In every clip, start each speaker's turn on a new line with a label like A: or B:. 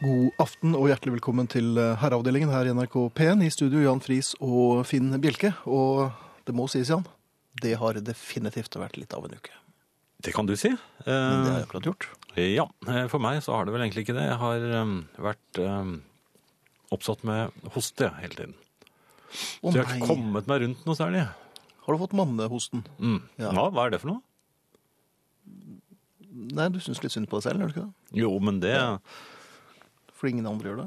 A: God aften og hjertelig velkommen til eh, Herreavdelingen her i NRK P1. I studio Jan Friis og Finn Bjelke. Og det må sies, Jan, det har definitivt vært litt av en uke.
B: Det kan du si. Eh,
A: Men det har jeg akkurat gjort.
B: Ja, eh, for meg så har det vel egentlig ikke det. Jeg har eh, vært eh, oppsatt med hoste hele tiden.
A: Å
B: Så jeg har ikke
A: nei,
B: kommet meg rundt noe særlig.
A: har du fått mannehosten?
B: Mm.
A: Ja.
B: Hva, hva er det for noe?
A: Nei, du syns litt synd på deg selv, gjør du ikke det?
B: Jo, men det
A: Fordi ingen andre gjør det?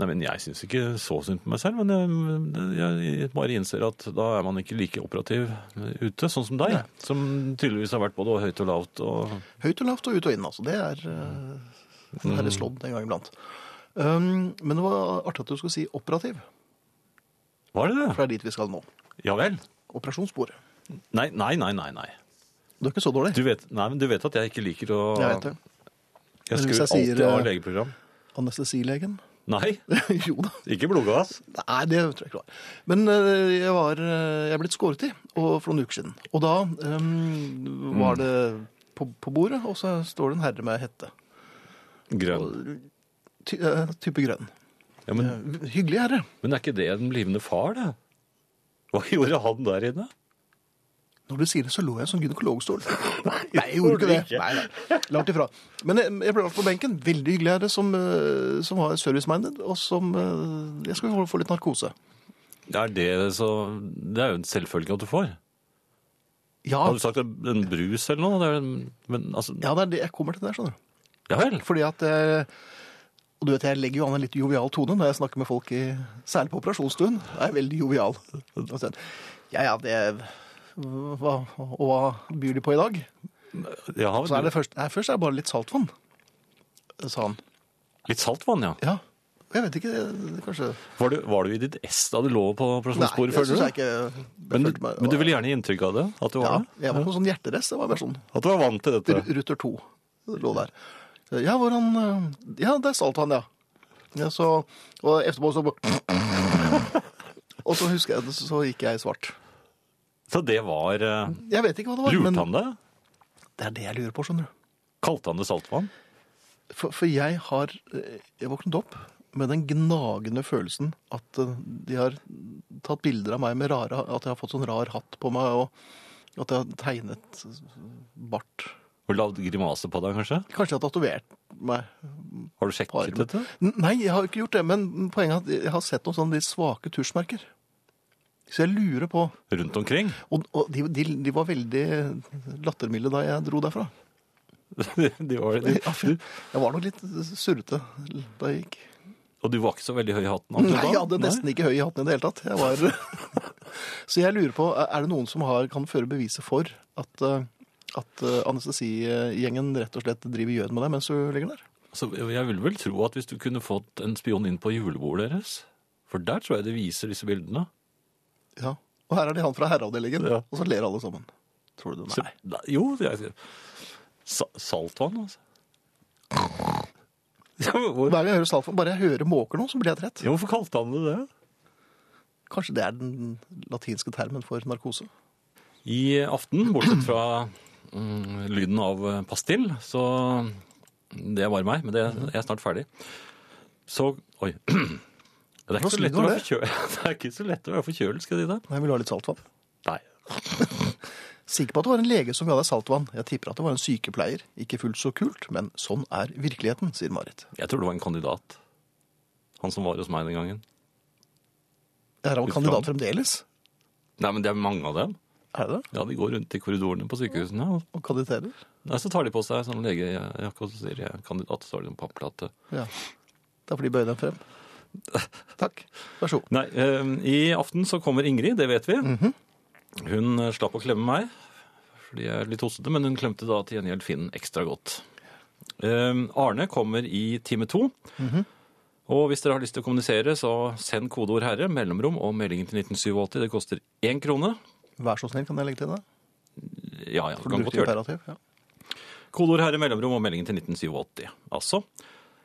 B: Nei, men Jeg syns ikke så synd på meg selv, men jeg, jeg bare innser at da er man ikke like operativ ute, sånn som deg.
A: Nei.
B: Som tydeligvis har vært både høyt og lavt og
A: Høyt og lavt og ut og inn, altså. Det er uh, herre slådd en gang iblant. Um, men det var artig at du skulle si operativ,
B: Var det det?
A: for det er dit vi skal nå.
B: Ja vel?
A: Operasjonsbordet.
B: Nei, nei, nei, nei. nei.
A: Du er ikke så dårlig.
B: Du, vet, nei men du vet at jeg ikke liker å
A: Jeg vet det.
B: Jeg
A: Men hvis
B: skrur
A: jeg sier,
B: alltid av
A: eh,
B: legeprogram.
A: Anestesilegen.
B: Nei,
A: jo da.
B: ikke blodgass.
A: Nei, det tror jeg ikke det var. Men eh, jeg, var, eh, jeg er blitt skåret i og, for noen uker siden. Og da eh, var
B: Mm.
A: det på, på bordet, og så står det en herre med hette.
B: Grønn.
A: Ty, eh, type grønn.
B: Ja, men,
A: Eh, Hyggelig herre.
B: men er ikke det den blivende far, det? Hva gjorde han der inne?
A: Når du sier det, så lå jeg i en sånn gynekologstol. Nei, jeg
B: gjorde
A: gjorde ikke det.
B: du ikke.
A: Nei, nei. Langt ifra. Men eh, jeg, jeg ble lagt på benken. Veldig hyggelig herre som, eh, som var service-minded, og som eh, Jeg skal få- få litt narkose.
B: Er det, så, det er jo en selvfølge at du får.
A: Ja,
B: Hadde du sagt en en brus eller noe? Det er, jo en- men altså
A: ja det er det jeg kommer til der, skjønner du.
B: Ja vel.
A: Fordi at jeg, og du vet, jeg legger jo an en litt jovial tone når jeg snakker med folk, i, særlig på operasjonsstuen. Jeg er veldig jovial. Og så, Ja, ja, det hva, Og hva byr de på i dag?
B: Ja,
A: Så er det først, nei, først er det bare litt saltvann, sa han.
B: Litt saltvann, ja.
A: Ja. Jeg vet ikke, det- kanskje
B: Var du, var du i ditt ess da du lå på operasjonsbordet,
A: det
B: føler
A: syns
B: du?
A: jeg ikke. det
B: Men,
A: følte meg-
B: men du ville gjerne gi inntrykk av det? At du var,
A: Ja,
B: det?
A: jeg var på sånn hjerterest, det var mer sånn
B: At du var vant til
A: Ru-
B: dette?
A: Ruter 2 lå der. Ja, hvor han eh, Ja, der salt han, ja. ja så, og etterpå så Og så husker jeg det, så gikk jeg i svart.
B: Så det var eh,
A: Jeg vet ikke hva det var,
B: Lurte
A: men
B: han det?
A: det er det jeg lurer på, skjønner du.
B: Kalte han det saltvann?
A: For, for jeg har eh, Jeg våknet opp med den gnagende følelsen at eh, de har tatt bilder av meg med rare At jeg har fått sånn rar hatt på meg, og at jeg har tegnet bart.
B: Og lagd grimase på deg, kanskje?
A: Kanskje jeg har tatovert meg
B: Har du
A: på
B: sjekket
A: armen.
B: dette?
A: N- Nei, jeg har ikke gjort det, men poenget er at jeg har sett noen sånne litt svake tusjmerker. Så jeg lurer på
B: Rundt omkring?
A: Og, og de, de, de var veldig lattermilde da jeg dro derfra.
B: de var, de, du,
A: Jeg var nok litt surrete da jeg gikk.
B: og du var ikke så veldig høy i hatten?
A: Nei,
B: akkurat da?
A: jeg hadde nesten ikke høy i hatten i det hele tatt. Jeg var... Så jeg lurer på, er det noen som har, kan føre beviset for at, eh, at eh, anestesigjengen rett og slett driver gjød med deg mens du ligger der?
B: Så Altså, jeg vil vel tro at hvis du kunne fått en spion inn på julebordet deres For der tror jeg de viser disse bildene.
A: Ja. Og her er det han fra herreavdelingen,
B: Ja.
A: og så ler alle sammen. Tror du det?
B: Så,
A: Nei.
B: nei, jo, jeg, sa, saltvann, altså. Ja, men hvor,
A: Hver gang jeg hører saltvann, bare jeg hører måker nå, så blir jeg trett.
B: ja, hvorfor kalte han det det?
A: Kanskje det er den latinske termen for narkose?
B: I aften, bortsett fra mm, lyden av eh, pastill, så Det var meg, men det, jeg er snart ferdig. Så Oi. Det er, ikke
A: Hvordan
B: så lett å
A: lyder
B: være
A: det?
B: forkjøl, det er ikke så lett å være forkjølet, skal jeg si deg.
A: Nei, vil du ha litt saltvann?
B: Nei.
A: Sikker på at det var en lege som ga deg saltvann. Jeg tipper at det var en sykepleier. Ikke fullt så kult, men sånn er virkeligheten, sier Marit.
B: Jeg tror det var en kandidat. Han som var hos meg den gangen.
A: Er han
B: Litt
A: kandidat
B: fram.
A: fremdeles?
B: Nei, men det er mange av dem.
A: Er det det?
B: Ja, De går rundt i korridorene på sykehusene. og-
A: Og kandidaterer?
B: Nei, Så tar de på seg sånn legejakke og så sier de, jeg er kandidat, så har de en papplate.
A: Ja. Da får de bøye dem frem. Takk. Vær så god.
B: Nei, eh, i aften så kommer Ingrid, det vet vi. Hun eh, slapp å klemme meg, fordi jeg er litt hostete, men hun klemte da til gjengjeld Finn ekstra godt. Eh, Arne kommer i time to. Og hvis dere har lyst til å kommunisere, så send kodeord 'herre', mellomrom og meldingen til 1987. Det koster én krone.
A: Vær så snill, kan jeg legge til det?
B: Ja, ja, du
A: For du
B: kan godt
A: brukte
B: gjøre det.
A: imperativ. Ja.
B: Kodeord herre mellomrom og meldingen til 1987. Altså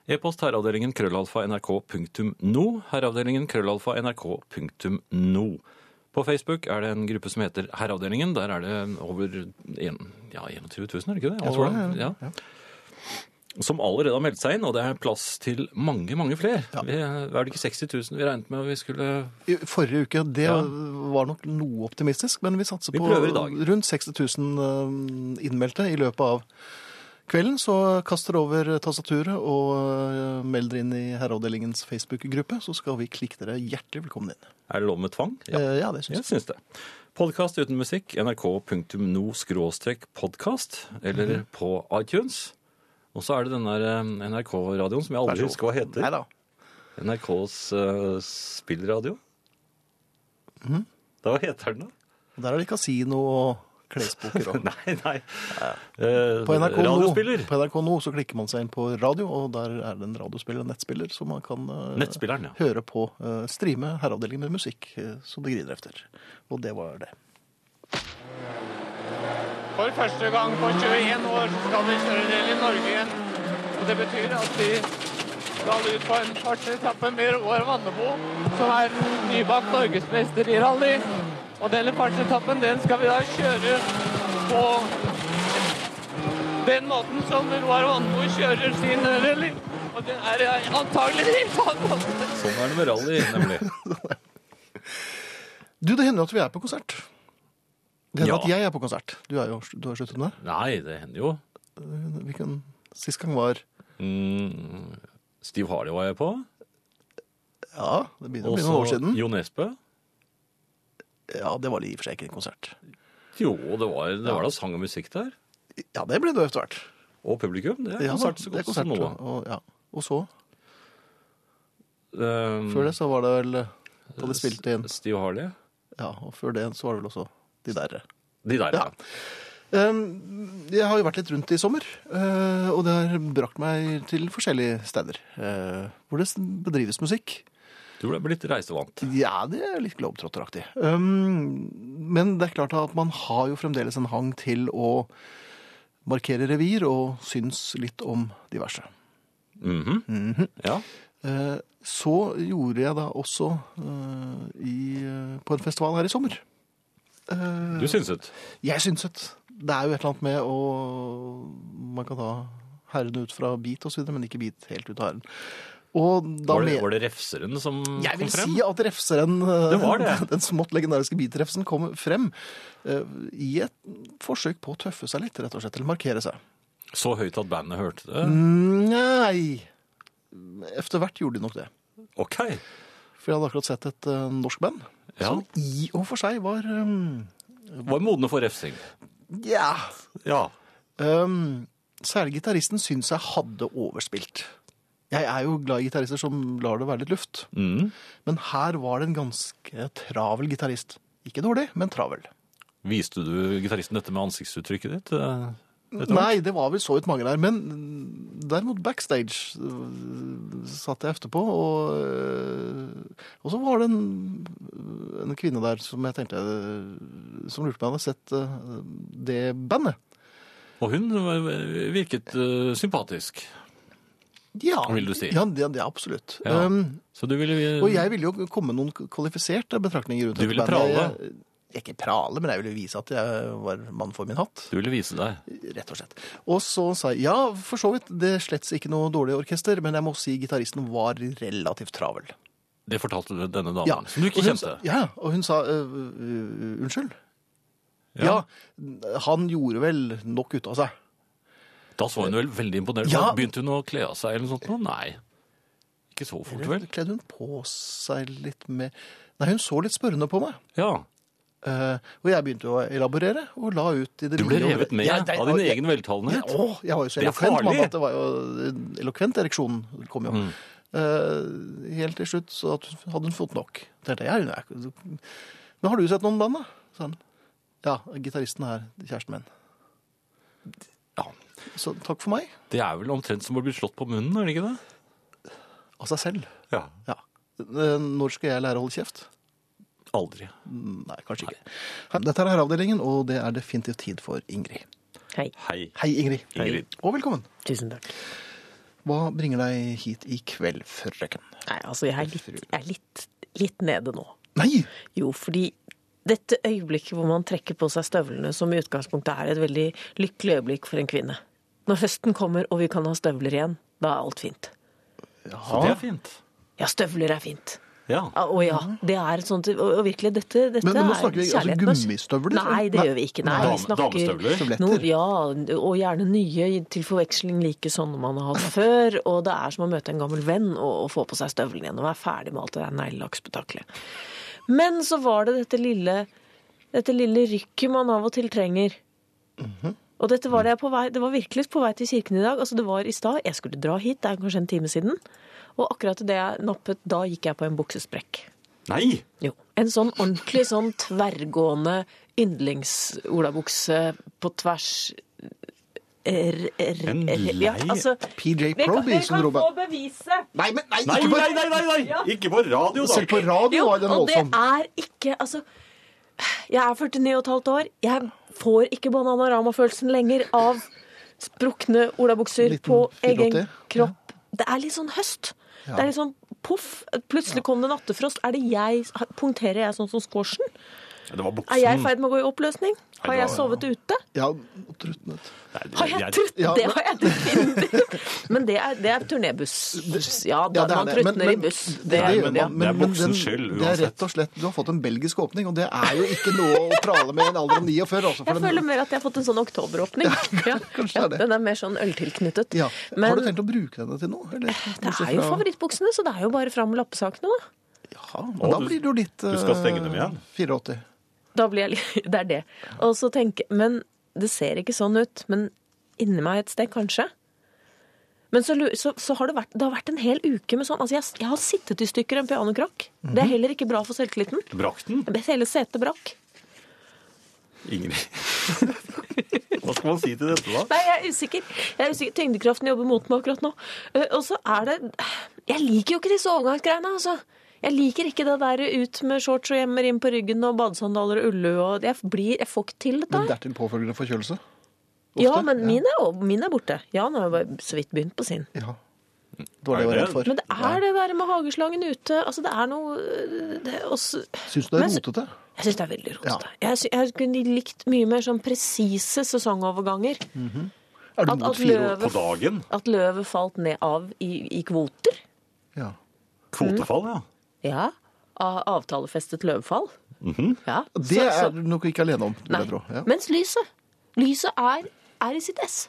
B: e-post herreavdelingen krøllalfa nrk.no, herreavdelingen krøllalfa nrk.no. På Facebook er det en gruppe som heter Herreavdelingen. Der er det over en, ja, 21 000, er det ikke det?
A: Jeg tror det.
B: Ja.
A: Ja.
B: som allerede har meldt seg inn, og det er plass til mange, mange flere.
A: Ja.
B: Vi, er det ikke 60 000 vi regnet med vi skulle
A: I forrige uke, det
B: Ja.
A: var nok noe optimistisk, men vi satser
B: Vi
A: på
B: prøver i dag.
A: rundt 60 000 eh, innmeldte i løpet av kvelden. Så kast dere over tastaturet og eh, meld dere inn i herreavdelingens Facebook-gruppe, så skal vi klikke dere hjertelig velkommen inn.
B: Er det lov med tvang?
A: Ja, ja det syns
B: Jeg syns det. Podkast uten musikk, nrk.no-podkast, eller
A: Mhm.
B: på iTunes. Og så er det den der eh, NRK-radioen som jeg aldri husker hva
A: jeg. Nei
B: heter.
A: da.
B: NRKs eh, spillradio.
A: Mhm.
B: Da, hva heter den, da?
A: Der er det kasino og klesboker og
B: Nei, nei. Eh,
A: På NRK, nå,
B: Radiospiller.
A: på NRK nå så klikker man seg inn på radio, og der er det en radiospiller og nettspiller, så man kan eh,
B: Nettspilleren, ja.
A: høre på eh, streame herreavdelingen med musikk eh, som det griner efter. Og det var det.
C: For første gang på 21 år skal vi større del i Norge igjen. Og det betyr at vi skal ut på en første etappe med Roar Vannebo, som er nybakt norgesmester i rally. Og denne første etappen den skal vi da kjøre på den måten som Roar Vannebo kjører sin rally. Og det er antageligvis han måte.
B: Sånn er det med rally, nemlig.
A: Du, det hender jo at vi er på konsert. Det hender
B: Ja.
A: at jeg er på konsert. Du, er jo, du har sluttet med det.
B: Nei, det hender jo.
A: Hvilken sist gang var
B: Mm, Steve Harley var jeg på.
A: Ja, det begynner å
B: Og
A: bli
B: så
A: noen år siden.
B: Jo Nesbø.
A: Ja, det var i og for seg ikke en konsert.
B: Jo, det var, det var da sang og musikk der.
A: Ja, det ble det jo etter hvert.
B: Og publikum. Det er
A: Ja,
B: konsert så
A: det er
B: godt som
A: konsert,
B: noe.
A: Og, ja. og så,
B: Um,
A: før det, så var det vel eh, Da
B: Mm.
A: de spilte inn
B: Steve Harley.
A: Ja, og før det så var det vel også de derre.
B: De der, ja.
A: Ja. Um, Jeg har jo vært litt rundt i sommer, eh, og det har brakt meg til forskjellige steder. eh, Hvor det bedrives musikk.
B: Du ble litt reisevant.
A: Ja, det er litt globetrotteraktig. Um, Men det er klart at man har jo fremdeles en hang til å markere revir og syns litt om diverse.
B: Mhm. Ja.
A: Eh, Så gjorde jeg da også eh, i, eh, på en festival her i sommer. Eh,
B: Du synset.
A: Jeg synset. Det er jo et eller annet med å Man kan ta herren ut fra bit og så videre, men ikke bit helt ut av herren. Og da
B: Var det,
A: med-
B: var det refseren som
A: jeg vil
B: kom frem?
A: si at refseren, eh,
B: Det var det.
A: den smått legendariske bitrefsen, kom frem eh, i et forsøk på å tøffe seg litt, rett og slett, eller markere seg.
B: Så høyt at bandet hørte det?
A: Mm. Nei Etter hvert gjorde de nok det.
B: OK.
A: For jeg hadde akkurat sett et eh, norsk band
B: Ja.
A: som i og for seg var um,
B: Var modne for refsing.
A: Ja.
B: Ja.
A: Um, særlig gitaristen syns jeg hadde overspilt. Jeg er jo glad i gitarister som lar det være litt luft.
B: Mm.
A: Men her var det en ganske travel gitarist. Ikke dårlig, men travel.
B: Viste du gitaristen dette med ansiktsuttrykket ditt? eh, etter hvert?
A: Nei, det var vel så vidt mange der. Men derimot backstage øh, satt jeg etterpå, og, øh, og så var det en, en kvinne der som jeg tenkte øh, Som lurte på om jeg hadde sett øh, det bandet.
B: Og hun var- virket eh, sympatisk,
A: Ja,
B: vil du si.
A: Ja, det, det er absolutt.
B: Ja.
A: Um,
B: Så du ville
A: og jeg ville jo komme med noen kvalifiserte betraktninger rundt
B: Mm. Du ville prale?
A: Jeg, jeg, ikke prale, men jeg ville vise at jeg var mann for min hatt.
B: Du ville vise deg.
A: Rett og slett. Og så sa jeg ja, for så vidt, det er slett ikke noe dårlig orkester, men jeg må si gitaristen var relativt travel.
B: Det fortalte du denne damen,
A: Ja.
B: Ah, som du ikke
A: og hun,
B: kjente.
A: Ja, og hun sa «Øh, øh, unnskyld. Ja.
B: Ja.
A: han gjorde vel nok ut av seg.
B: Da så hun vel veldig imponert.
A: Ja.
B: ut. Begynte hun å kle av seg eller noe sånt? nå? Nei. Ikke så fort, vel?
A: Kledde hun på seg litt mer Nei, hun så litt spørrende på meg.
B: Ja.
A: Eh, og jeg begynte å elaborere og la ut i det
B: Du ble
A: videre-
B: revet med
A: Ja, det-
B: av din
A: ja,
B: egen
A: Ja,
B: veltalenhet.
A: åh, jeg var jo så
B: Det er
A: elokvent, mann,
B: farlig. Mm.
A: at det var jo elokvent ereksjon kom jo. Eh, helt til slutt så at, hun- hadde hun fått nok. Det er det jeg er. Men har du sett noen band, da? sa han. Ja, gitaristen er kjæresten min.
B: Ja.
A: Så takk for meg.
B: Det er vel omtrent som å bli slått på munnen, er det ikke det?
A: Av seg selv.
B: Ja.
A: Ja. Eh, Når skal jeg lære å holde kjeft?
B: Aldri.
A: Nei, kanskje ikke. Her- Dette er Herreavdelingen, og det er definitivt tid for Ingrid.
D: Hei.
B: Hei.
A: Hei, Ingrid.
B: Ingrid.
A: Og velkommen.
D: Tusen takk.
A: Hva bringer deg hit i kveld, frøken?
D: Nei, altså, jeg er litt, jeg er litt, litt nede nå.
A: Nei!
D: Jo, fordi dette øyeblikket hvor man trekker på seg støvlene, som i utgangspunktet er et veldig lykkelig øyeblikk for en kvinne Når høsten kommer og vi kan ha støvler igjen, da er alt fint.
B: Så det er fint.
D: Ja, støvler er fint.
B: Ja.
D: Ja, Å ja. Det er et sånt Og og virkelig, dette, dette
A: Men- men nå
D: er
A: snakker vi altså
D: kjærligheten, altså.
A: gummistøvler, liksom?
D: Nei, det
A: Nei.
D: gjør vi ikke. Nei,
B: Dame-
D: vi snakker
B: damestøvler.
A: Støvletter.
D: No, ja, og gjerne nye, til forveksling like sånne man har hatt før. Og det er som å møte en gammel venn og, og få på seg støvlene igjen og være ferdig med alt det der neglelakkspetakkelet. Men så var det dette lille, dette lille rykket man av og til trenger. Og dette var det jeg på vei, det var virkelig på vei til kirken i dag. Altså det var i stad, jeg skulle dra hit, det er kanskje en time siden. Og akkurat det jeg nappet, da gikk jeg på en buksesprekk.
B: Nei!
D: Jo. En sånn ordentlig sånn tverrgående yndlings-olabukse på tvers eh, er, er,
B: En
D: er,
B: lei
A: PJ
D: vi altså, kan,
A: Proby,
D: vi
A: som
D: kan
A: Robert
D: få beviset!
A: Nei, men nei,
B: Nei,
A: ikke på,
B: nei, nei! nei, nei. Ikke på radio,
A: Selv på
B: da!
A: radio
D: Jo,
A: var den
D: og det
A: voldsom.
D: er ikke Altså, jeg er 49,5 år. Jeg får ikke Bananarama-følelsen lenger av sprukne olabukser
A: Liten
D: på egen
A: 480,
D: kropp. Det er litt sånn høst. Det er litt sånn poff. Plutselig kom det nattefrost. Er det jeg, Punkterer jeg sånn som squashen?
B: Det var
D: Er jeg i
B: buksen.
D: ferd med å gå i oppløsning? Har
B: det
D: jeg
B: var-
D: sovet ute?
A: Ja, og trutnet.
D: Har jeg trutt?
A: Ja,
D: det har jeg definitivt. Men det er, det er turnébuss. Ja,
A: Ja,
D: da,
A: det er
D: man
A: det.
D: trutner
A: Men-
D: i buss.
A: men-
D: Det,
A: gjør
D: det,
A: man.
D: ja.
B: det er
A: Men- men
B: buksens
A: den-
B: skyld,
A: Det er
B: uansett.
A: rett og slett, Du har fått en belgisk åpning, og det er jo ikke noe å prale med i en alder av 49. Altså, for
D: Jeg
A: den-
D: føler mer at jeg har fått en sånn oktoberåpning. Ja,
A: kanskje det er
D: ja,
A: det.
D: den er mer sånn øltilknyttet.
A: ja. Har
D: Men
A: du tenkt å bruke denne til noe? Eller,
D: det er jo favorittbuksene, så det er jo bare fram med lappesakene, da.
A: Ja,
B: Å,
A: men da
B: du-
A: blir det jo litt
B: du skal stenge dem igjen?
A: eh, 84.
D: Da blir jeg litt Det er det. Og så tenke Men det ser ikke sånn ut. Men inni meg et sted, kanskje. Men så, lu- så, så har det vært, det har vært en hel uke med sånn Altså, jeg, jeg har sittet i stykker en pianokrakk. Det
B: Mhm.
D: er heller ikke bra for selvtilliten.
B: Brakk den,
D: Hele setet brakk.
B: Ingrid? Hva skal man si til dette, da?
D: Nei, jeg er usikker. Jeg er usikker. Tyngdekraften jobber mot meg akkurat nå. Eh, Og så er det Jeg liker jo ikke disse overgangsgreiene, altså. Jeg liker ikke det der ut med shorts og hjemmer inn på ryggen og badesandaler og ullue og Jeg, blir, jeg får ikke til dette.
A: Men
D: her.
A: dertil påfølgende forkjølelse?
D: Ja, men min er, over- min er borte. Jan har jo bare så vidt begynt på sin.
A: Ja. Det var det jeg var redd for.
D: Men det er det der med hageslangen ute. Altså, det er noe øh, det er også,
A: Syns du det
D: Men
A: er
D: så-
A: rotete?
D: Jeg syns det er veldig rotete. Jeg, sy- jeg kunne likt mye mer sånn presise sesongoverganger.
A: Er du
D: At,
A: mot
D: at,
A: fire år?
B: På
D: løvet,
B: dagen?
D: at løvet falt ned av i, i kvoter.
A: Ja.
B: Kvotefall, ja.
D: Ja. Av avtalefestet løvfall. ja.
A: Mhm. Det er du nok ikke alene om, vil
D: Nei.
A: jeg tro. Ja.
D: Mens lyset. Lyset er, er i sitt ess.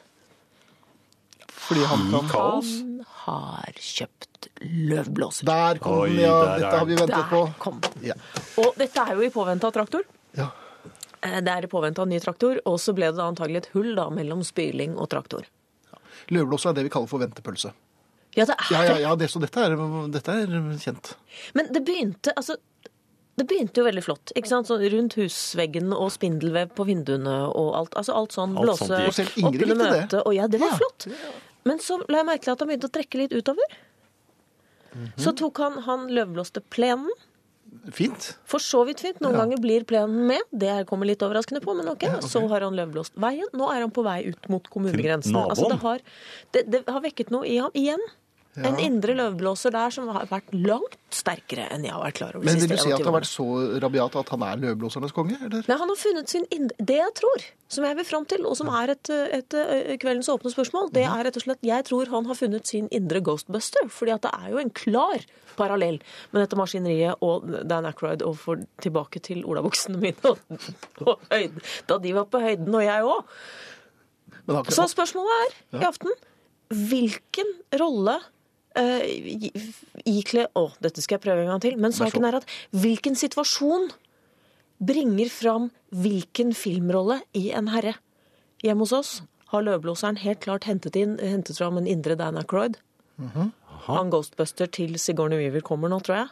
A: Fordi han
B: I
A: kan
B: kaos.
D: Han har kjøpt løvblåser.
A: Der kom
B: Oi,
A: den, ja.
B: der er
A: Dette har vi ventet på.
D: Der kom den.
A: Ja.
D: Og dette er jo i påvente av traktor.
A: ja.
D: Eh, Det er i påvente av ny traktor, og så ble det da antagelig et hull da mellom spyling og traktor.
A: Løvblåse er det vi kaller for ventepølse.
D: Ja, det er
A: Ja, ja, ja, det, så dette er, dette er kjent.
D: Men det begynte, altså, det begynte jo veldig flott. ikke sant? Sånn rundt husveggen og spindelvev på vinduene og alt. altså Alt sånn
B: Alt sånt
D: blåse
B: gikk. Og
A: selv Ingrid
D: opp under
A: likte det.
D: møtet. Og ja, det var
A: Ja.
D: flott. Men så la jeg merke til at han begynte å trekke litt utover.
A: Mhm.
D: Så tok han han løvblåste plenen.
A: Fint.
D: For så vidt fint. Noen ganger blir plenen med. Det her kommer litt overraskende på, men ok. Så har han løvblåst veien. Nå er han på vei ut mot kommunegrensen.
B: naboen.
D: Altså, det, har, det, det har vekket noe i ham igjen. En indre løvblåser der som har vært langt sterkere enn jeg har vært klar over. de
A: Men vil
D: siste
A: du si at
D: 21
A: det har
D: årene.
A: vært så rabiat at han er løvblåsernes konge? Eller?
D: Nei, Han har funnet sin ind... Det jeg tror, som jeg vil fram til, og som er et, et, et kveldens åpne spørsmål, det er rett og slett Jeg tror han har funnet sin indre Ghostbuster. fordi at det er jo en klar parallell med dette maskineriet og Dan Ackroyd og for, tilbake til olabuksene mine og, og høyden. Da de var på høyden, og jeg òg.
A: Men han,
D: Så spørsmålet er i aften hvilken rolle eh, i- ikle Å, dette skal jeg prøve en gang til. Men saken er at hvilken situasjon bringer fram hvilken filmrolle i en herre? Hjemme hos oss har løvblåseren helt klart hentet, inn, hentet fram en indre Dan Aykroyd. Han Ghostbuster til Sigourney Weaver kommer nå, tror jeg.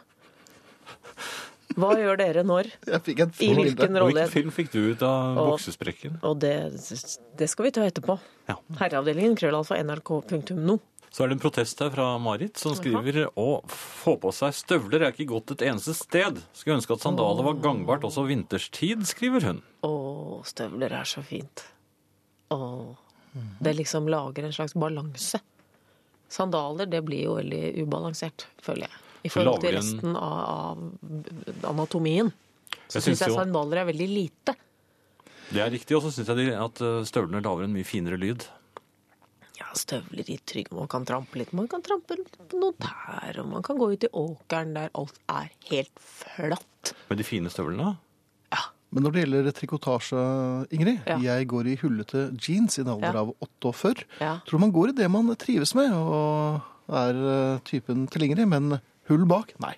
D: Hva gjør dere når?
A: jeg fikk en
D: I
A: fin
D: hvilken
A: bilde.
D: rolle?
B: Hvilken film fikk du ut av buksesprekken?
D: Og det, det skal vi ta etterpå.
B: Ja.
D: Herreavdelingen krøllalfa nrk.no.
B: Så er det en protest her fra Marit, som skriver å få på seg støvler er ikke gått et eneste sted. Skulle ønske at sandaler var gangbart også vinterstid, skriver hun.
D: Å, støvler er så fint. Å. Det liksom lager en slags balanse. Sandaler, det blir jo veldig ubalansert, føler jeg. I forhold til
B: lager en-
D: resten av, av anatomien. Så
B: Jeg
D: syns
B: synes
D: jeg
B: jo
D: sandaler er veldig lite.
B: det er riktig, og så syns jeg de- at eh, støvlene lager en mye finere lyd.
D: støvler i trygg. Man kan trampe litt, man kan trampe på noe der, og man kan gå ut i åkeren der alt er helt flatt.
B: Med de fine støvlene?
A: Men når det gjelder trikotasje, Ingrid
D: Ja.
A: Jeg går i hullete jeans i en alder
D: Ja.
A: av 48.
D: Ja.
A: Tror man går i det man trives med, og er eh, typen til Ingrid, men hull bak? Nei.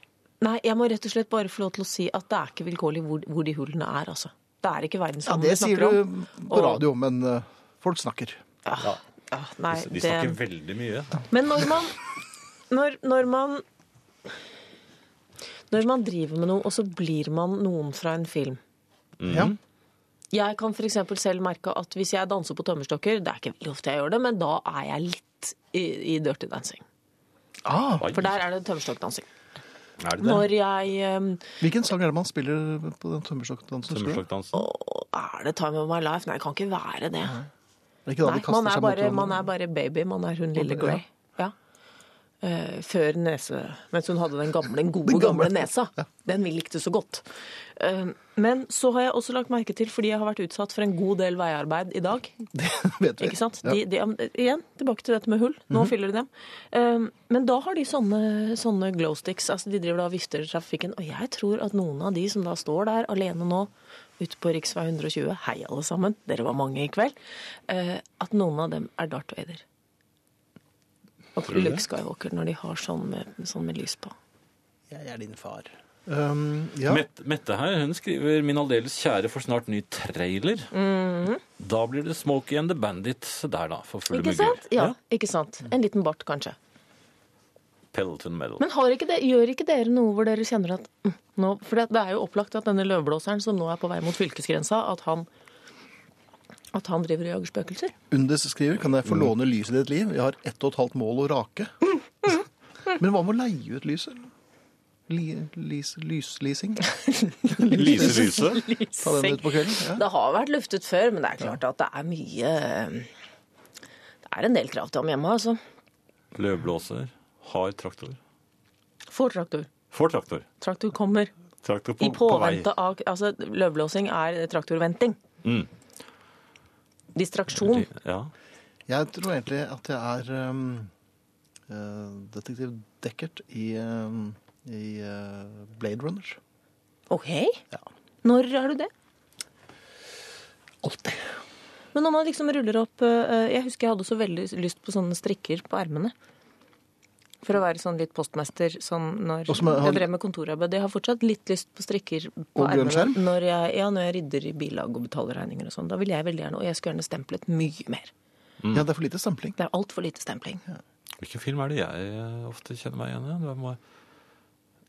D: Nei, jeg må rett og slett bare få lov til å si at det er ikke vilkårlig hvor, hvor de hullene er, altså. Det er ikke
A: Ja,
D: verdensrommet
A: det
D: vi
A: sier
D: snakker
A: du
D: om.
A: på radio, men eh, folk snakker.
D: Ja. Ja, Ah, nei,
B: De
D: det...
B: snakker veldig mye.
D: Men når man, når, når man Når man driver med noe, og så blir man noen fra en film
A: Ja.
D: Jeg kan f.eks. selv merke at hvis jeg danser på tømmerstokker Det er ikke veldig ofte jeg gjør det, men da er jeg litt i, i dirty dancing.
A: Ah,
B: Oi,
D: For der er det tømmerstokkdansing.
B: er det det?
D: Når jeg um,
A: hvilken sang er det man spiller på den tømmerstokkdansen? husker du det?
B: Tømmerstokkdansen.
D: Er det time of my life? Nei, det kan ikke være
A: Det
D: det.
A: er ikke da
D: Nei,
A: de
D: man
A: kaster
D: er,
A: seg mot
D: bare, man
A: hverandre.
D: er bare baby. Man er hun lille
A: Ja.
D: Grey. Ja. Eh, før nese Mens hun hadde den gamle, den gode, gamle
A: gamle.
D: nesa. Den vi likte så godt. Eh, men så har jeg også lagt merke til, fordi jeg har vært utsatt for en god del veiarbeid i dag
A: Vet vi.
D: ikke sant?
A: Ja.
D: De, de, ja, igjen, tilbake til dette med hull. Nå fyller de dem. Eh, men da har de sånne, sånne glow sticks. Altså, de driver da og vifter i trafikken. Og jeg tror at noen av de som da står der alene nå ute på rv. 120 Hei, alle sammen, dere var mange i kveld. eh, at noen av dem er Darth Vader. Og
B: du det?
D: Luke Skywalker når de har sånn med, sånn med lys på.
A: Jeg er din far. Um, ja.
B: Mette, Mette her, hun skriver Min aldeles kjære får snart ny trailer. Da blir det Smokey and the Bandit Se der, da. For fulle
D: Mhm. Ikke
B: mugger.
D: sant? Ja, ikke sant? En liten bart, kanskje.
B: Pelleton Medal.
D: Men har ikke det, gjør ikke dere noe hvor dere kjenner at mm, nå, For det, det er jo opplagt at denne løvblåseren som nå er på vei mot fylkesgrensa, at han, at han driver og jager spøkelser.
A: Undis skriver kan jeg få låne lyset i ditt liv. Jeg har ett og et halvt mål å rake.
D: Mm,
A: Men hva med å leie ut lyset? Li, lys, lysleasing?
B: Lise Lyse.
A: Ta den ut på kvelden? Ja.
D: Det har vært luftet før, men det er klart at det er mye Det er en del krav til ham hjemme, altså.
B: Løvblåser. Har traktor.
D: Får traktor.
B: Får traktor.
D: Traktor kommer.
B: Traktor på,
D: I
B: på vei.
D: påvente av Altså, løvblåsing er traktorventing.
B: Mm.
D: Distraksjon.
B: Ja.
A: Jeg tror egentlig at jeg er um, eh, detektiv Deckert i, um, i eh, Blade Runner.
D: OK.
A: Ja.
D: Når er du det?
A: Alltid.
D: Men når man liksom ruller opp eh, Jeg husker jeg hadde så veldig lyst på sånne strikker på ermene. For å være sånn litt postmester sånn når
A: Og som er-
D: jeg drev med kontorarbeid. Jeg har fortsatt litt lyst på strikker på
A: Og grønn skjerm?
D: ermene når jeg, ja, når jeg rydder i bilag og betaler regninger og sånn. Da vil jeg veldig gjerne Og jeg skulle gjerne stemplet mye mer.
A: Ja, det er for lite stempling.
D: Det er altfor lite stempling.
B: Hvilken film er det jeg eh, ofte kjenner meg igjen i? Det må...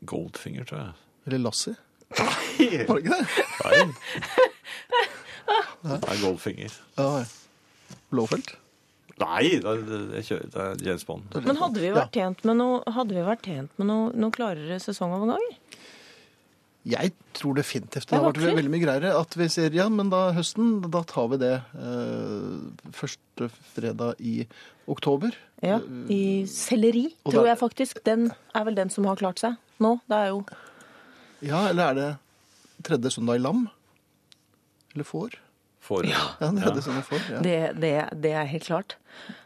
B: Goldfinger, tror jeg.
A: Eller Lassie. Var det ikke det?
B: Nei. Det er Goldfinger.
A: Ja, ja. Blåfelt.
B: Nei, det er, det er, kjø- det er James Bond.
D: Men hadde vi
A: Ja.
D: vært tjent med noe, hadde vi vært tjent med noe, noe klarere sesongoverganger?
A: Jeg tror definitivt det
D: Jeg
A: har vært
D: håper det.
A: veldig mye greiere at vi sier ja, men da høsten, da tar vi det eh, første fredag i oktober.
D: Ja, I selleri,
A: Eh, og
D: tror
A: da-
D: jeg faktisk. Den er vel den som har klart seg nå. Det er jo
A: Ja, eller er det tredje søndag i lam? Eller får?
B: For,
A: Ja, den tredje søndag i får. Ja.
D: det, det, det er helt klart.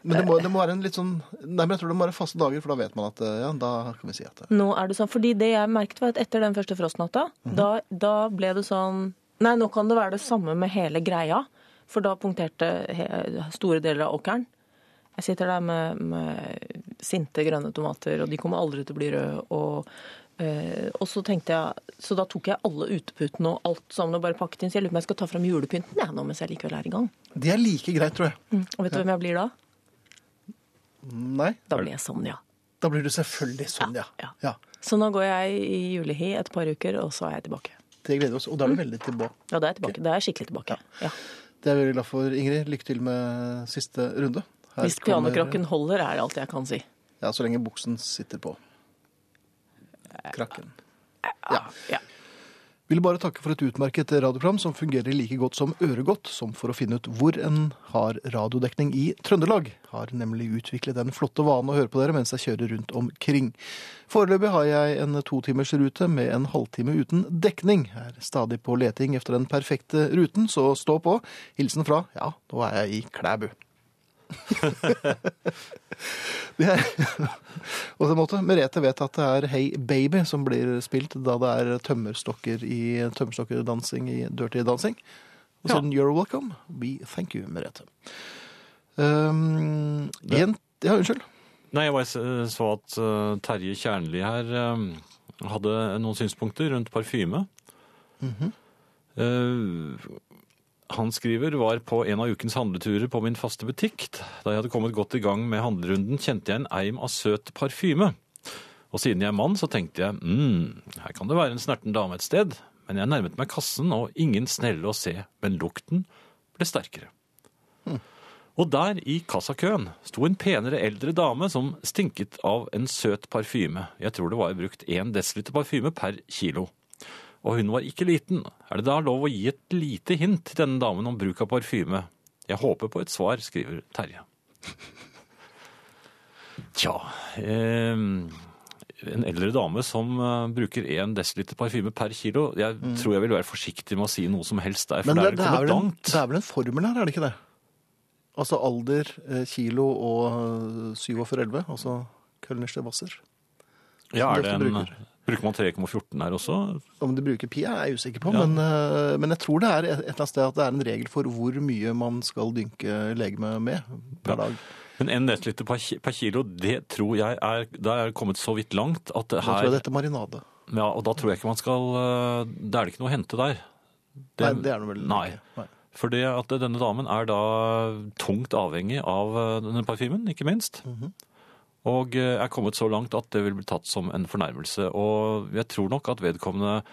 A: Men det må, det må være en litt sånn Nei, men jeg tror det må være faste dager, for da vet man at eh, ja, da kan vi si at eh, det
D: Nå er det sånn, fordi det jeg merket var at etter den første frostnatta, da, da ble det sånn Nei, nå kan det være det samme med hele greia, for da punkterte he, store deler av åkeren. Jeg sitter der med, med sinte grønne tomater, og de kommer aldri til å bli røde. Og, eh, og så tenkte jeg, så da tok jeg alle uteputene og alt sammen og bare pakket inn. Så jeg lurer på om jeg skal ta fram julepynten jeg nå mens jeg likevel er i gang.
A: Det er like greit, tror jeg. Mm,
D: Og vet du hvem jeg blir da?
A: Nei,
D: Da blir jeg Sonja.
A: da blir du selvfølgelig sånn, ja.
D: Ja,
A: ja.
D: Så nå går jeg i julehi et par uker, og så er jeg tilbake.
A: Det gleder vi oss. Og da er du veldig tilbake.
D: Ja, da er jeg tilbake. Da er jeg skikkelig tilbake. Ja.
A: Det er vi veldig glad for, Ingrid. Lykke til med siste runde. Her
D: Hvis
A: kommer-
D: pianokrokken holder, er alt jeg kan si.
A: Ja, så lenge buksen sitter på. Krakken.
D: Ja.
A: Vil bare takke for et utmerket radioprogram som fungerer like godt som øregodt, som for å finne ut hvor en har radiodekning i Trøndelag. Har nemlig utviklet den flotte vanen å høre på dere mens jeg kjører rundt omkring. Foreløpig har jeg en totimers rute med en halvtime uten dekning. Er stadig på leting efter den perfekte ruten, så stå på. Hilsen fra, ja, nå er jeg i Klæbu. Det er, og så måtte Merete vet at det er Hey Baby som blir spilt da det er tømmerstokker i tømmerstokkerdansing i Dirty Dancing. Og så
B: Ja.
A: den You're Welcome. We thank you, Merete. Um,
B: Det-
A: jent- ja, unnskyld.
B: Nei, jeg bare s- så at eh, Terje Kjernli her eh, hadde noen synspunkter rundt parfyme. Eh, han skriver var på en av ukens handleturer på min faste butikk. Da jeg hadde kommet godt i gang med handlerunden, kjente jeg en eim av søt parfyme. Og siden jeg er mann, så tenkte jeg mm, her kan det være en snerten dame et sted. Men jeg nærmet meg kassen, og ingen snelle å se, men lukten ble sterkere.
A: Hm.
B: Og der, i kassakøen, sto en penere eldre dame som stinket av en søt parfyme. Jeg tror det var brukt én desiliter parfyme per kilo. Og hun var ikke liten. Er det da lov å gi et lite hint til denne damen om bruk av parfyme? Jeg håper på et svar, skriver Terje. Tja eh, En eldre dame som eh, bruker én desiliter parfyme per kilo. Jeg tror jeg vil være forsiktig med å si noe som helst der, for
A: Hm. Men det,
B: der er
A: det,
B: det
A: er
B: kommet
A: vel en,
B: langt.
A: det er vel en formel her, er det ikke det? Altså alder, eh, kilo og 4711, altså Kølners til Wasser. som
B: Ja, er
A: de ofte
B: det en,
A: bruker.
B: bruker man 3,14 her også?
A: Om de bruker pi er jeg usikker på,
B: Ja.
A: men, eh, men jeg tror det er et et eller annet sted at det er en regel for hvor mye man skal dynke legeme med per dag.
B: Men en desiliter per, ki- per kilo, det tror jeg er Der er det kommet så vidt langt at det
A: Da tror jeg
B: her
A: dette er marinade.
B: ja, Og da tror jeg ikke man skal eh, Da er det ikke noe å hente der.
A: Nei, det er det vel
B: Nei.
A: ikke. Nei.
B: For det at denne damen er da tungt avhengig av eh, denne parfymen, ikke minst.
A: Mhm.
B: Og eh, er kommet så langt at det vil bli tatt som en fornærmelse. Og jeg tror nok at vedkommende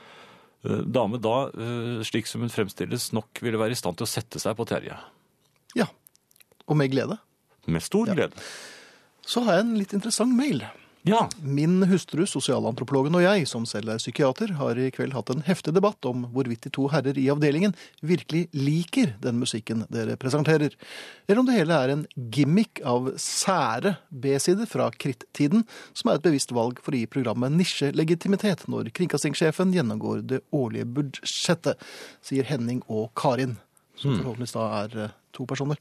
B: eh, dame da, eh, slik som hun fremstilles, nok ville være i stand til å sette seg på Terje.
A: Ja, og med glede.
B: Med stor
A: Ja.
B: glede.
A: Så har jeg en litt interessant mail.
B: Ja.
A: Min hustru, sosialantropologen og jeg, som selv er psykiater, har i kveld hatt en heftig debatt om hvorvidt de to herrer i avdelingen virkelig liker den musikken dere presenterer, eller om det hele er en gimmick av sære B-sider fra krittiden, som er et bevisst valg for å gi programmet nisjelegitimitet når kringkastingssjefen gjennomgår det årlige budsjettet, sier Henning og Karin, som forhåpentligvis da er eh, to personer.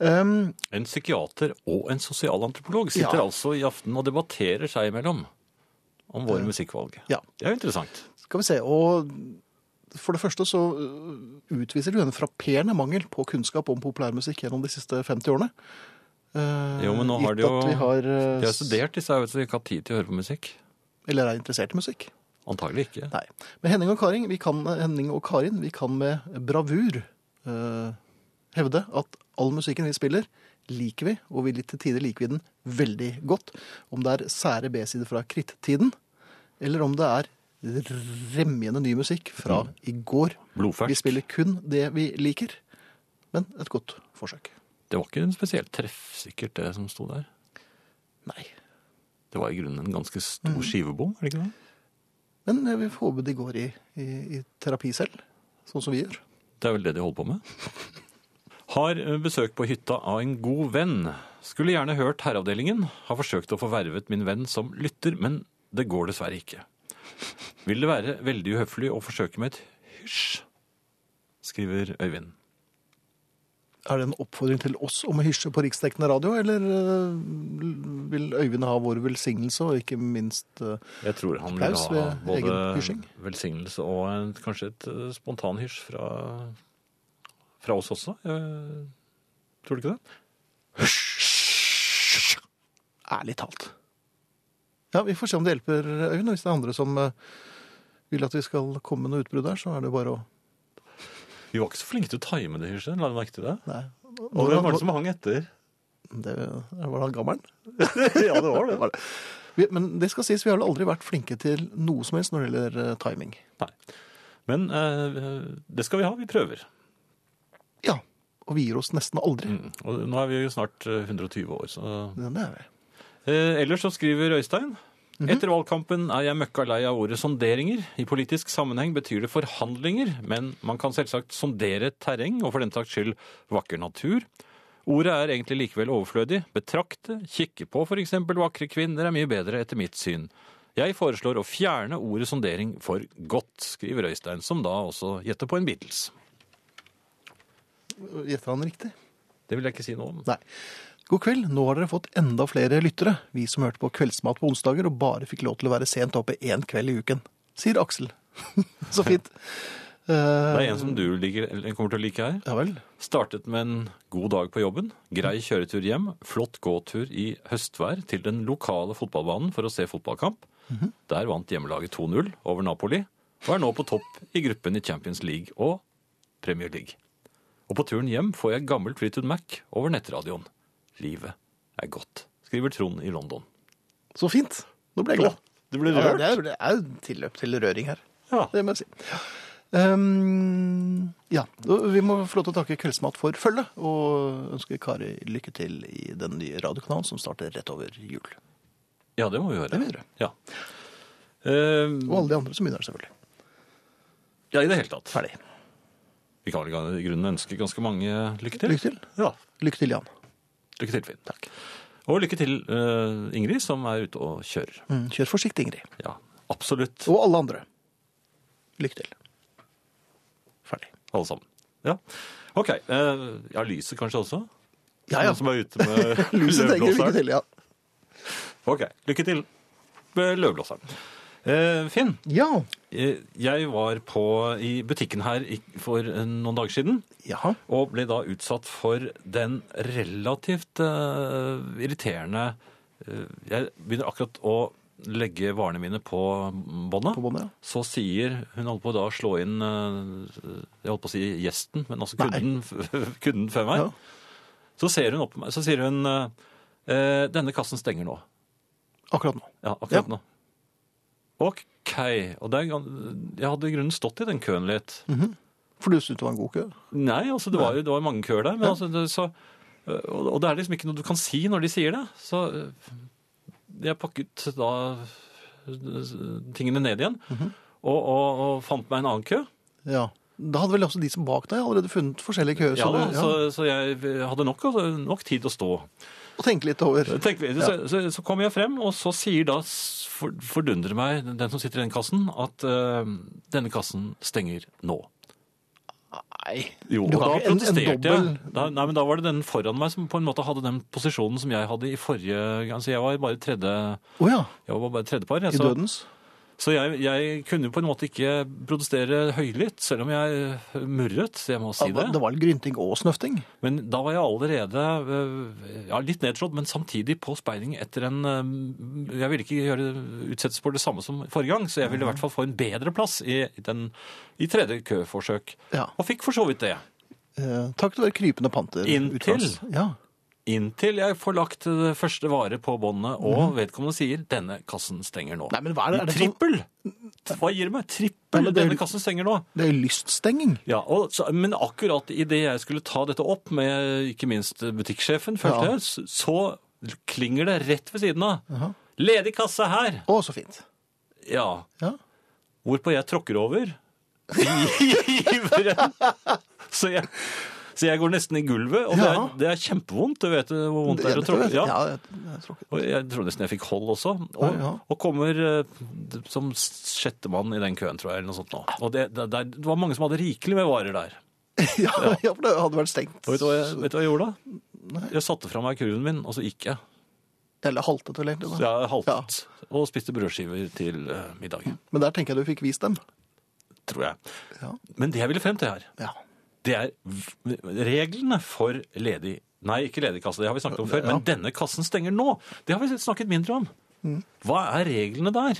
A: Um,
B: En psykiater og en sosialantropolog sitter
A: Ja.
B: altså i aften og debatterer seg imellom om våre musikkvalg.
A: ja.
B: Det er jo interessant.
A: Skal vi se, og for det første så øh, utviser du en frapperende mangel på kunnskap om populærmusikk gjennom de siste 50 årene. Eh,
B: Jo, men nå har
A: gitt
B: de jo-
A: at vi har, eh,
B: De har studert disse, her, vet du, så de ikke har tid til å høre på musikk.
A: Eller er interessert i musikk.
B: Antagelig ikke.
A: Nei. Men Henning og, Karin, vi kan, eh, Henning og Karin, vi kan med bravur eh, hevde at all musikken vi spiller, liker vi, og vi til tider liker vi den veldig godt. Om det er sære B-sider fra krittiden, eller om det er remjende ny musikk fra i går. Vi
B: Blodfersk.
A: spiller kun det vi liker, men et godt forsøk.
B: Det var ikke en spesielt treffsikkert, det som sto der.
A: Nei.
B: Det var i grunnen en ganske
A: Mm.
B: stor skivebom, er det ikke det?
A: Men eh, vi får håpe de går i, i, i terapi selv, sånn som vi gjør.
B: Det er vel det de holder på med. Har besøk på hytta av en god venn. Skulle gjerne hørt Herreavdelingen. Har forsøkt å få vervet min venn som lytter, men det går dessverre ikke. Vil det være veldig uhøflig å forsøke med et hysj? Skriver Øyvind.
A: Er det en oppfordring til oss om å hysje på riksdekkende radio, eller eh, vil Øyvind ha vår velsignelse, og ikke minst eh,
B: Jeg tror han vil
A: Applaus
B: ha
A: ved
B: både
A: egen hysjing.
B: velsignelse og en, kanskje et eh, spontan hysj fra, fra oss også. Eh, tror du ikke det?
A: ærlig talt? Ja, vi får se om det hjelper, Øyvind. Og hvis det er andre som eh, vil at vi skal komme med noe utbrudd der, så er det bare å
B: Vi var ikke så flinke til å time det hysjet. La du merke til det?
A: Nei.
B: Og hvem var det som hang etter?
A: det, var det han gammelen?
B: ja, det var det.
A: Vi- Men det skal sies, vi har vel aldri vært flinke til noe som helst når det gjelder eh, timing.
B: Nei. Men eh, det skal vi ha. Vi prøver.
A: Ja, og vi gir oss nesten aldri.
B: Mm. Og nå er vi jo snart eh, 120 år, så
A: Ja, Det er vi.
B: Eh, ellers så skriver Øystein Etter valgkampen er jeg møkka lei av ordet sonderinger. I politisk sammenheng betyr det forhandlinger, men man kan selvsagt sondere terreng, og for den saks skyld vakker natur. Ordet er egentlig likevel overflødig. Betrakte, kikke på f.eks. vakre kvinner er mye bedre etter mitt syn. Jeg foreslår å fjerne ordet sondering for godt, skriver Øystein, som da også gjetter på en Beatles.
A: Gjetter han riktig?
B: Det vil jeg ikke si noe om.
A: Nei. God kveld, nå har dere fått enda flere lyttere, vi som hørte på Kveldsmat på onsdager og bare fikk lov til å være sent oppe én kveld i uken, sier Aksel. Så fint. Eh,
B: Det er en som du liker, eller kommer til å like her.
A: Ja vel.
B: Startet med en god dag på jobben, grei kjøretur hjem, flott gåtur i høstvær til den lokale fotballbanen for å se fotballkamp. Der vant hjemmelaget 2-0 over Napoli, og er nå på topp i gruppen i Champions League og Premier League. Og på turen hjem får jeg gammel Fleetwood Mac over nettradioen. Livet er godt, skriver Trond i London.
A: Så fint. Nå ble jeg glad.
B: Du ble
A: Ja,
B: rørt?
A: det er, det er jo tilløp til røring her.
B: Ja.
A: Det må jeg si. Ehm, ja, og vi må få lov til å takke Kveldsmat for følget, og ønske Kari lykke til i den nye radiokanalen som starter rett over jul.
B: Ja, det må vi gjøre.
A: Det må vi gjøre.
B: Ja. Eh,
A: Og alle de andre som begynner, selvfølgelig.
B: ja, i det hele tatt.
A: Ferdig.
B: Vi kan vel i grunnen ønske ganske mange lykke til.
A: Lykke til.
B: Ja,
A: Lykke til, Jan.
B: lykke til, Finn. Takk. Og lykke til eh, Ingrid, som er ute og kjører.
A: Mm, kjør forsiktig, Ingrid.
B: Ja, absolutt,
A: Og alle andre. Lykke til. Ferdig.
B: alle sammen. Ja, ok. eh, ja, lyset kanskje også?
A: Ja, ja.
B: Noen som er ute med
A: Lyset trenger lykke
B: løvblåseren?
A: til, ja.
B: Ok, lykke til med løvblåseren. Eh, Finn,
A: Ja.
B: eh, jeg var på, i butikken her i- for eh, noen dager siden.
A: Jaha.
B: Og ble da utsatt for den relativt eh, irriterende eh, Jeg begynner akkurat å legge varene mine på båndet.
A: På båndet, ja.
B: Så sier Hun holdt på da å slå inn eh, Jeg holdt på å si gjesten, men altså
A: Nei.
B: kunden, kunden før meg.
A: Ja.
B: Så ser hun opp på meg, så sier hun eh, eh, Denne kassen stenger nå.
A: Akkurat nå.
B: Ja,
A: Ja.
B: akkurat nå. OK. Og det er, gan- jeg hadde i grunnen stått i den køen litt.
A: For du syntes det var en god kø?
B: Nei, altså det var jo det var mange køer der. Men altså, det, så, og, og det er liksom ikke noe du kan si når de sier det. Så øh, jeg pakket da øh, tingene ned igjen. og, og, og fant meg en annen kø.
A: Ja. Da hadde vel også de som bak deg allerede funnet forskjellige køer.
B: Ja,
A: så
B: så,
A: du-
B: så, jeg hadde nok, altså, nok tid å stå.
A: Og tenke litt over.
B: Tenk, så, så, så kommer jeg frem, og så sier da s- for, Fordundrer meg den som sitter i den kassen, at øh, denne kassen stenger nå.
A: Nei.
B: Jo,
A: Du
B: og da
A: har ikke en- en
B: protesterte jeg.
A: dobbel-
B: Da, nei, men da var det den foran meg som på en måte hadde den posisjonen som jeg hadde i forrige gang. Så jeg var bare tredje,
A: Å ja.
B: jeg var bare tredjepar. jeg,
A: I
B: Så,
A: dødens?
B: så jeg, jeg kunne jo på en måte ikke protestere høylytt, selv om jeg eh, murret, så jeg må si
A: Ja,
B: det.
A: det var litt grynting og snøfting.
B: Men da var jeg allerede øh, ja, litt nedslått, men samtidig på speiling etter en øh, Jeg ville ikke gjøre utsettes for det samme som forrige gang, så jeg
A: Mhm.
B: ville i hvert fall få en bedre plass i, den, i tredje køforsøk.
A: Ja.
B: Og fikk for så vidt det.
A: Eh, takk til være krypende panter.
B: Inntil.
A: utlands. Ja.
B: Inntil jeg får lagt det første vare på båndet, og vedkommende sier 'denne kassen stenger nå'.
A: Mhm. Nei, men hva er det? Er det sånn-
B: trippel! Hva gir det meg? Trippel!
A: Nei, men det er-
B: 'Denne kassen stenger nå'.
A: Det er lyststenging.
B: Ja, og, så, Men akkurat idet jeg skulle ta dette opp med ikke minst butikksjefen, følte
A: Ja.
B: jeg, s- så klinger det rett ved siden av. Ledig kasse her!
A: Å, så fint.
B: Ja.
A: Ja.
B: Hvorpå jeg tråkker over i iveren. Så jeg, så jeg går nesten i gulvet, og det,
A: Ja.
B: er, det er kjempevondt. Du vet hvor vondt det er å
A: tror
B: tråkke.
A: jeg. Ja, det er- det er tråkket.
B: Og jeg tror nesten jeg fikk hold også. Og,
A: Ja, ja.
B: og kommer eh, som sjettemann i den køen, tror jeg. eller noe sånt nå. Og det, det, det, det var mange som hadde rikelig med varer der.
A: Ja, ja, for det hadde vært stengt.
B: Og vet du hva jeg, vet du hva jeg gjorde da? Jeg satte fra meg kurven min, og så gikk jeg.
A: Eller haltet vel egentlig.
B: Så
A: Da.
B: jeg haltet og spiste brødskiver til eh, middag,
A: Men der tenker jeg du fikk vist dem.
B: tror jeg.
A: Mm. Ja.
B: Men det jeg ville frem til her,
A: Ja.
B: det er v- reglene for ledig Nei, ikke ledig kasse, det har vi snakket om før. Men denne kassen stenger nå. Det har vi snakket mindre om.
A: Mm.
B: Hva er reglene der?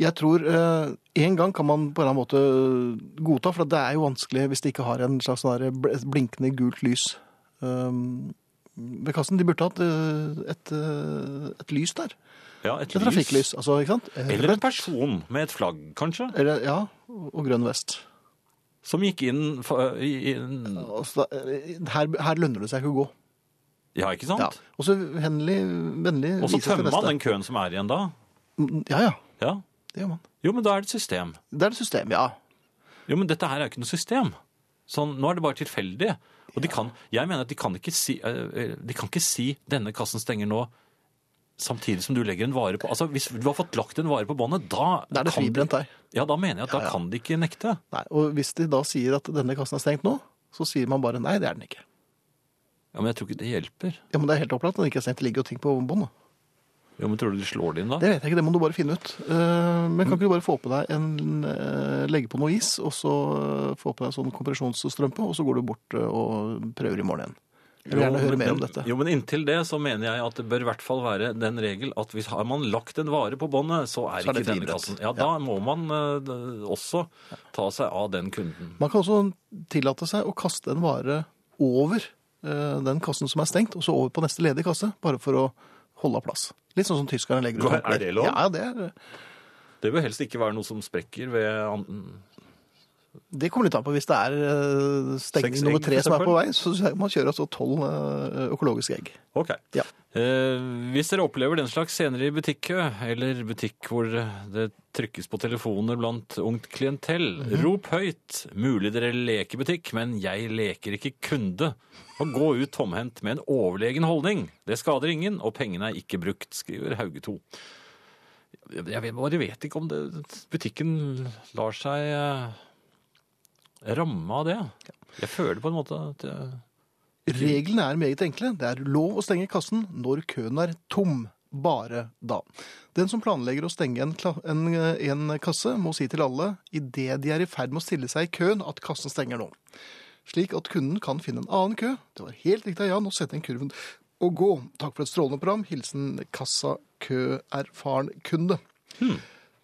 A: Jeg tror eh, en gang kan man på en eller annen måte eh, godta, for det er jo vanskelig hvis de ikke har en slags sånn der bl- et blinkende gult lys um, ved kassen. De burde hatt eh, et, eh, et lys der.
B: Ja, et
A: Et trafikklys, altså, ikke sant?
B: Eller en person med et flagg, kanskje.
A: Eller, ja, og grønn vest.
B: Som gikk inn for, i, i,
A: Altså, da- her, her lønner det seg ikke å gå.
B: Ja, ikke
A: Ja.
B: sant?
A: Og så henlig, vennlig
B: Og så
A: vises til
B: tømmer
A: neste.
B: man den køen som er igjen da.
A: Ja, ja.
B: Ja.
A: Det gjør man.
B: Jo, men da er det et system.
A: Det er et system, ja.
B: Jo, men dette her er jo ikke noe system. Sånn, nå er det bare tilfeldig. Og de kan, jeg mener at de kan ikke si, eh, eh, de kan ikke si 'denne kassen stenger nå' samtidig som du legger en vare på Altså, Hvis du har fått lagt en vare på båndet, da
A: Da er det
B: kan de-
A: fribrent der.
B: Ja, da mener jeg at da kan de ikke nekte.
A: Nei, og hvis de da sier at denne kassen er stengt nå, så sier man bare nei, det er den ikke.
B: Ja, Men jeg tror ikke det hjelper.
A: Ja, men Det er helt opplagt at den ikke er sendt. Det ligger jo ting på bånd. da.
B: Jo, men Tror du de slår det inn da?
A: Det vet jeg ikke, det må du bare finne ut. Eh, Men kan ikke du bare få på deg en eh, Legge på noe is, og så eh, få på deg en sånn kompresjonsstrømpe, og så går du bort eh, og prøver i morgen igjen. Jeg vil
B: Jo,
A: gjerne høre
B: men-
A: mer om dette.
B: Jo, men inntil det så mener jeg at det bør i hvert fall være den regel at hvis har man lagt en vare på båndet, så
A: Så er
B: er ikke
A: det
B: den
A: friidrett.
B: kassen. Ja, da må man eh, d- også ta seg av den kunden.
A: Man kan også tillate seg å kaste en vare over eh, den kassen som er stengt, og så over på neste ledige kasse, bare for å holde av plass. Litt sånn som tyskerne legger ut.
B: Hva, er
A: håndklær.
B: det lov?
A: Ja, det, er,
B: Det bør helst ikke være noe som sprekker ved an-
A: det kommer litt an på. Hvis det er eh, stengning
B: Seks egg,
A: nummer tre
B: for
A: som er på
B: eksempel.
A: vei, så sier jeg man kjører altså tolv eh, økologiske egg.
B: Ok.
A: Ja.
B: Eh, hvis dere opplever den slags senere i butikkø, eller butikk hvor det trykkes på telefoner blant ungt klientell,
A: Mhm.
B: rop høyt. Mulig dere leker butikk, men jeg leker ikke kunde. Og gå ut tomhendt med en overlegen holdning. Det skader ingen, og pengene er ikke brukt, skriver Hauge 2. Jeg jeg vet, bare vet ikke om det, butikken lar seg eh, ramme av det. Jeg føler på en måte at jeg
A: Reglene er meget enkle. Det er lov å stenge kassen når køen er tom. Bare da. Den som planlegger å stenge en, kla- en, eh, en kasse, må si til alle idet de er i ferd med å stille seg i køen, at kassen stenger nå. Slik at kunden kan finne en annen kø. Det var helt riktig av Jan å sette inn kurven og gå. Takk for et strålende program. Hilsen kassakøerfaren kunde. Da
B: Hmm.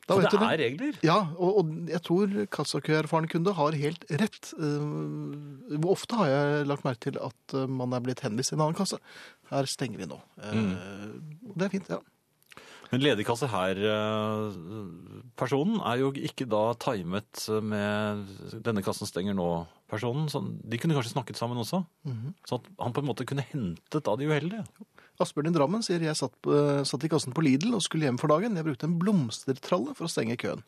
B: Så
A: vet
B: det
A: du
B: er regler.
A: ja, og, og jeg tror kassakøerfaren kunde har helt rett. Eh, ofte har jeg lagt merke til at eh, man er blitt henvist til en annen kasse. Her stenger vi nå. Eh, Det er fint, ja.
B: Men ledigkasse her eh, Personen er jo ikke da timet med 'denne kassen stenger nå'-personen. Så de kunne kanskje snakket sammen også?
A: Mhm.
B: Så at han på en måte kunne hentet av de uheldige?
A: Asbjørn i Drammen sier jeg satt, på- satt i kassen på Lidl og skulle hjem for dagen. Jeg brukte en blomstertralle for å stenge køen.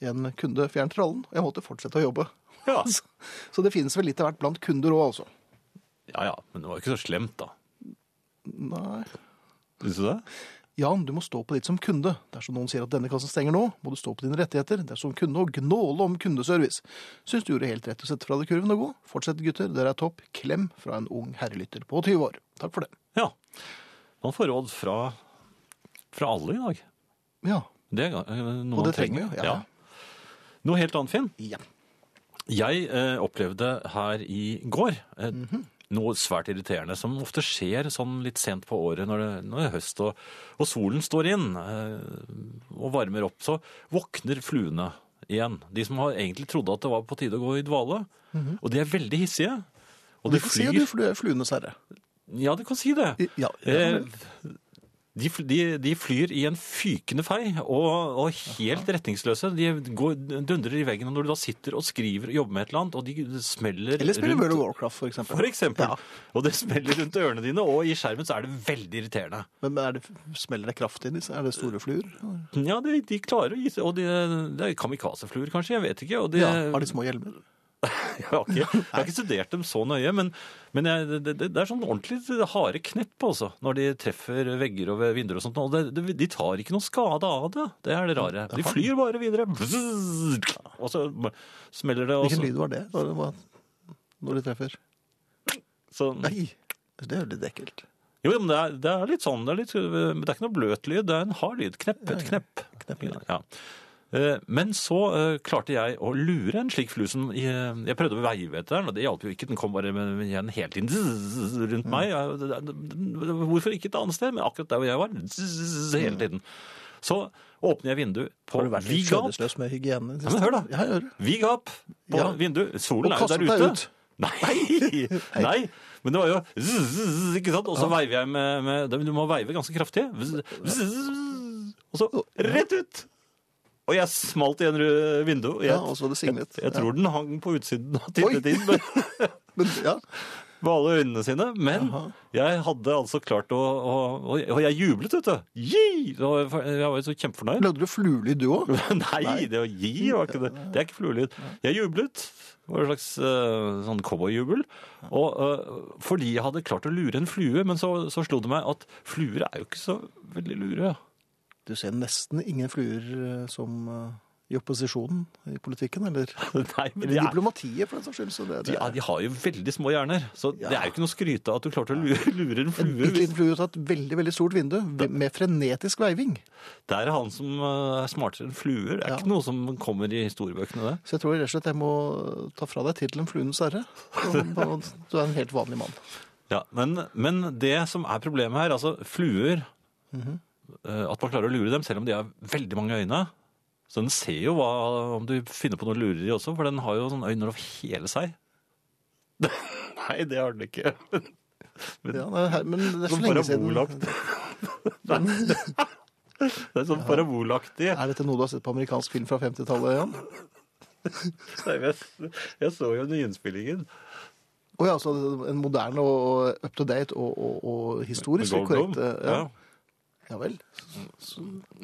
A: En kunde fjernet trallen, og jeg måtte fortsette å jobbe.
B: Ja.
A: Så det finnes vel litt av hvert blant kunder òg, altså.
B: ja ja, men det var jo ikke så slemt, da.
A: Nei.
B: Syns du det?
A: Jan, du må stå på ditt som kunde. Dersom noen sier at denne kassen stenger nå, må du stå på dine rettigheter dersom kunde og gnåle om kundeservice. Syns du gjorde helt rett å sette fra deg kurven og gå. Fortsett, gutter, dere er topp. Klem fra en ung herrelytter på 20 år. Takk for det.
B: Ja. Man får råd fra, fra alle i dag.
A: Ja.
B: Det er eh,
A: Og
B: noe man
A: det trenger vi, ja.
B: Noe helt annet, Finn.
A: ja.
B: Jeg eh, opplevde her i går eh, noe svært irriterende som ofte skjer sånn litt sent på året når det, når det er høst og, og solen står inn eh, og varmer opp. Så våkner fluene igjen. De som har egentlig trodde at det var på tide å gå i dvale. Og de er veldig hissige. Og
A: Du
B: de
A: får si
B: flyr
A: du, for du er fluenes herre.
B: Ja, du kan si det.
A: I- ja, ja,
B: Eh,
A: vel.
B: de, fl- de, de flyr i en fykende fei og, og helt retningsløse. De går, dundrer i veggen, og når du da sitter og skriver og jobber med et eller annet, og de smeller
A: Eller spiller World
B: rundt,
A: of Warcraft, for eksempel.
B: for eksempel.
A: Ja.
B: Og det smeller rundt ørene dine, og i skjermen så er det veldig irriterende.
A: Men er det, smeller det kraft inn i? Er det store fluer?
B: Ja, de, de klarer å gi seg, og de, det er kamikazefluer kanskje, jeg vet ikke. Og de,
A: Ja. Har de små hjelmer?
B: Jeg har ikke, jeg har ikke studert dem så nøye, men, men jeg, det, det, det er sånn ordentlig harde knepp altså, når de treffer vegger og vinduer og sånt. Og det, det, de tar ikke noe skade av det. Det er det rare. De flyr bare videre. Og så smeller det. Og
A: Hvilken
B: så,
A: lyd var det når det var- når de treffer?
B: sånn.
A: Nei, det er jo litt ekkelt.
B: jo, men det er, det er litt sånn. Det er, litt, men det er ikke noe bløt lyd. Det er en hard lyd. Knepp, et knepp. Ja. Eh, Men så eh, klarte jeg å lure en slik flue som Jeg jeg prøvde å veive etter den, og det hjalp jo ikke. Den kom bare med- med igjen hele tiden zzz, rundt
A: Mm.
B: meg. Jeg- det- det- Hvorfor ikke et annet sted? Men akkurat der hvor jeg var, zzz, hele tiden. Så åpner jeg vinduet på
A: Har du vært litt
B: vid gap.
A: skjødesløs med hygiene?
B: Ja, men hør da.
A: Ja, jeg hører.
B: Vid gap på
A: Ja.
B: vinduet. Solen
A: Og
B: er jo der
A: kastet
B: ute.
A: deg ut.
B: Nei! Nei! Men det var jo zzz, zzz, ikke sant? Og så veiver jeg med, med Du må veive ganske kraftig. Zzz, zzz, Og så rett ut! Og jeg smalt i en ru- vindu. og Jeg,
A: Ja, og så var det signet.
B: Jeg, jeg tror den hang på utsiden og
A: Oi.
B: tittet inn med,
A: Men, ja.
B: med alle øynene sine. Men jeg hadde altså klart å, å Og og jeg jublet, vet du. Yee! Det var- Jeg var jo så kjempefornøyd.
A: Lagde du fluelyd du òg?
B: Nei, det å gi var ikke det. Det er ikke fluelyd. Jeg jublet. Det var en slags eh, sånn cowboyjubel. Og, eh, fordi jeg hadde klart å lure en flue, men så, så slo det meg at fluer er jo ikke så veldig lure.
A: Du ser nesten ingen fluer eh, som eh, i opposisjonen i politikken, eller
B: Nei,
A: eller
B: men de,
A: i
B: er,
A: diplomatiet, for den saks skyld. Så det,
B: de,
A: det
B: er, de har jo veldig små hjerner, så det
A: Ja.
B: er jo ikke noe å skryte av at du klarte å lure, lure
A: En
B: en flue.
A: bitte
B: Hvis,
A: liten flue ut av et veldig veldig stort vindu med frenetisk veiving.
B: det er han som eh, er smartere enn fluer. Det er
A: Ja.
B: ikke noe som kommer i historiebøkene, det.
A: Så jeg tror rett og slett jeg må eh, ta fra deg tittelen 'Fluenes herre'. Og- og Du er en helt vanlig mann.
B: Ja, men, men det som er problemet her, altså fluer
A: Mhm.
B: eh, At man klarer å lure dem, selv om de har veldig mange øyne. Så den ser jo hva, om du finner på noe lureri også, for den har jo sånne øyne over hele seg. Nei, det har den ikke.
A: Ja, det er her- men det er så
B: Sånn
A: lenge siden.
B: parabolaktig. Nei. Det er sånn parabolaktig.
A: Er dette noe du har sett på amerikansk film fra 50-tallet, Jan?
B: Nei, men Jeg, jeg så jo nyinnspillingen.
A: Å ja, altså en moderne og up to date og, og, og historisk
B: Goldblum.
A: korrekt eh,
B: Ja.
A: ja. ja vel.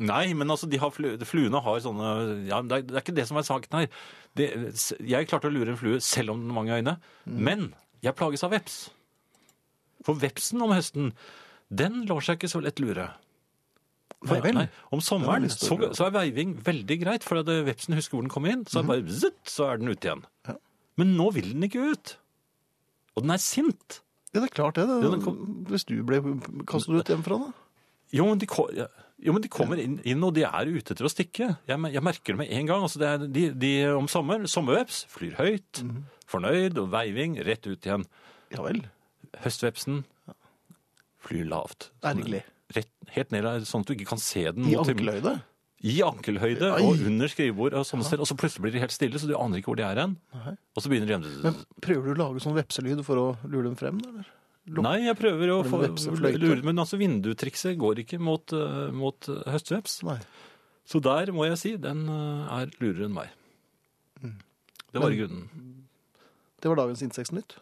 B: Nei, men altså, de har flu, fluene har sånne ja, men det, er, det er ikke det som er saken her. Det, s- jeg klarte å lure en flue selv om den har mange øyne.
A: Mm.
B: Men jeg plages av veps. For vepsen om høsten, den lar seg ikke så lett lure. For,
A: Nei vel.
B: om sommeren
A: Den er litt
B: så,
A: større.
B: så er veiving veldig greit, for at eh, vepsen husker hvor den kom inn.
A: Mhm.
B: Så er, bare, zitt, så er den ute igjen. Men nå vil den ikke ut. Og den er sint.
A: Ja, det er klart det.
B: Ja, den
A: det.
B: kom-
A: Hvis du ble kastet ut hjemmefra, da?
B: Jo, men de, ko- ja. jo, men de kommer inn, inn, og de er ute etter å stikke. Jeg, mer- jeg merker det med en gang. Altså, det er, de, de om sommer, sommerveps flyr høyt,
A: Mhm.
B: fornøyd, og veiving, rett ut igjen.
A: Ja vel.
B: Høstvepsen flyr lavt. Sånn
A: Ærlig.
B: Rett, helt ned, der, sånn at du ikke kan se den.
A: I
B: mot himmelen.
A: ankelhøyde?
B: I ankelhøyde
A: Ai.
B: og under skrivebord og sånne steder. Og så plutselig blir de helt stille, så du aner ikke hvor de er hen.
A: Nei.
B: Og så begynner de
A: Men prøver du å lage sånn vepselyd for å lure dem frem, eller? lukk-
B: Nei, jeg prøver å
A: Har
B: få
A: du en vepsefløyte?
B: lure, men altså vindutrikset går ikke mot, eh, mot eh, høstveps.
A: Nei.
B: Så der må jeg si, den eh, er lurere enn meg. Det var i grunnen.
A: Det var dagens Insektnytt.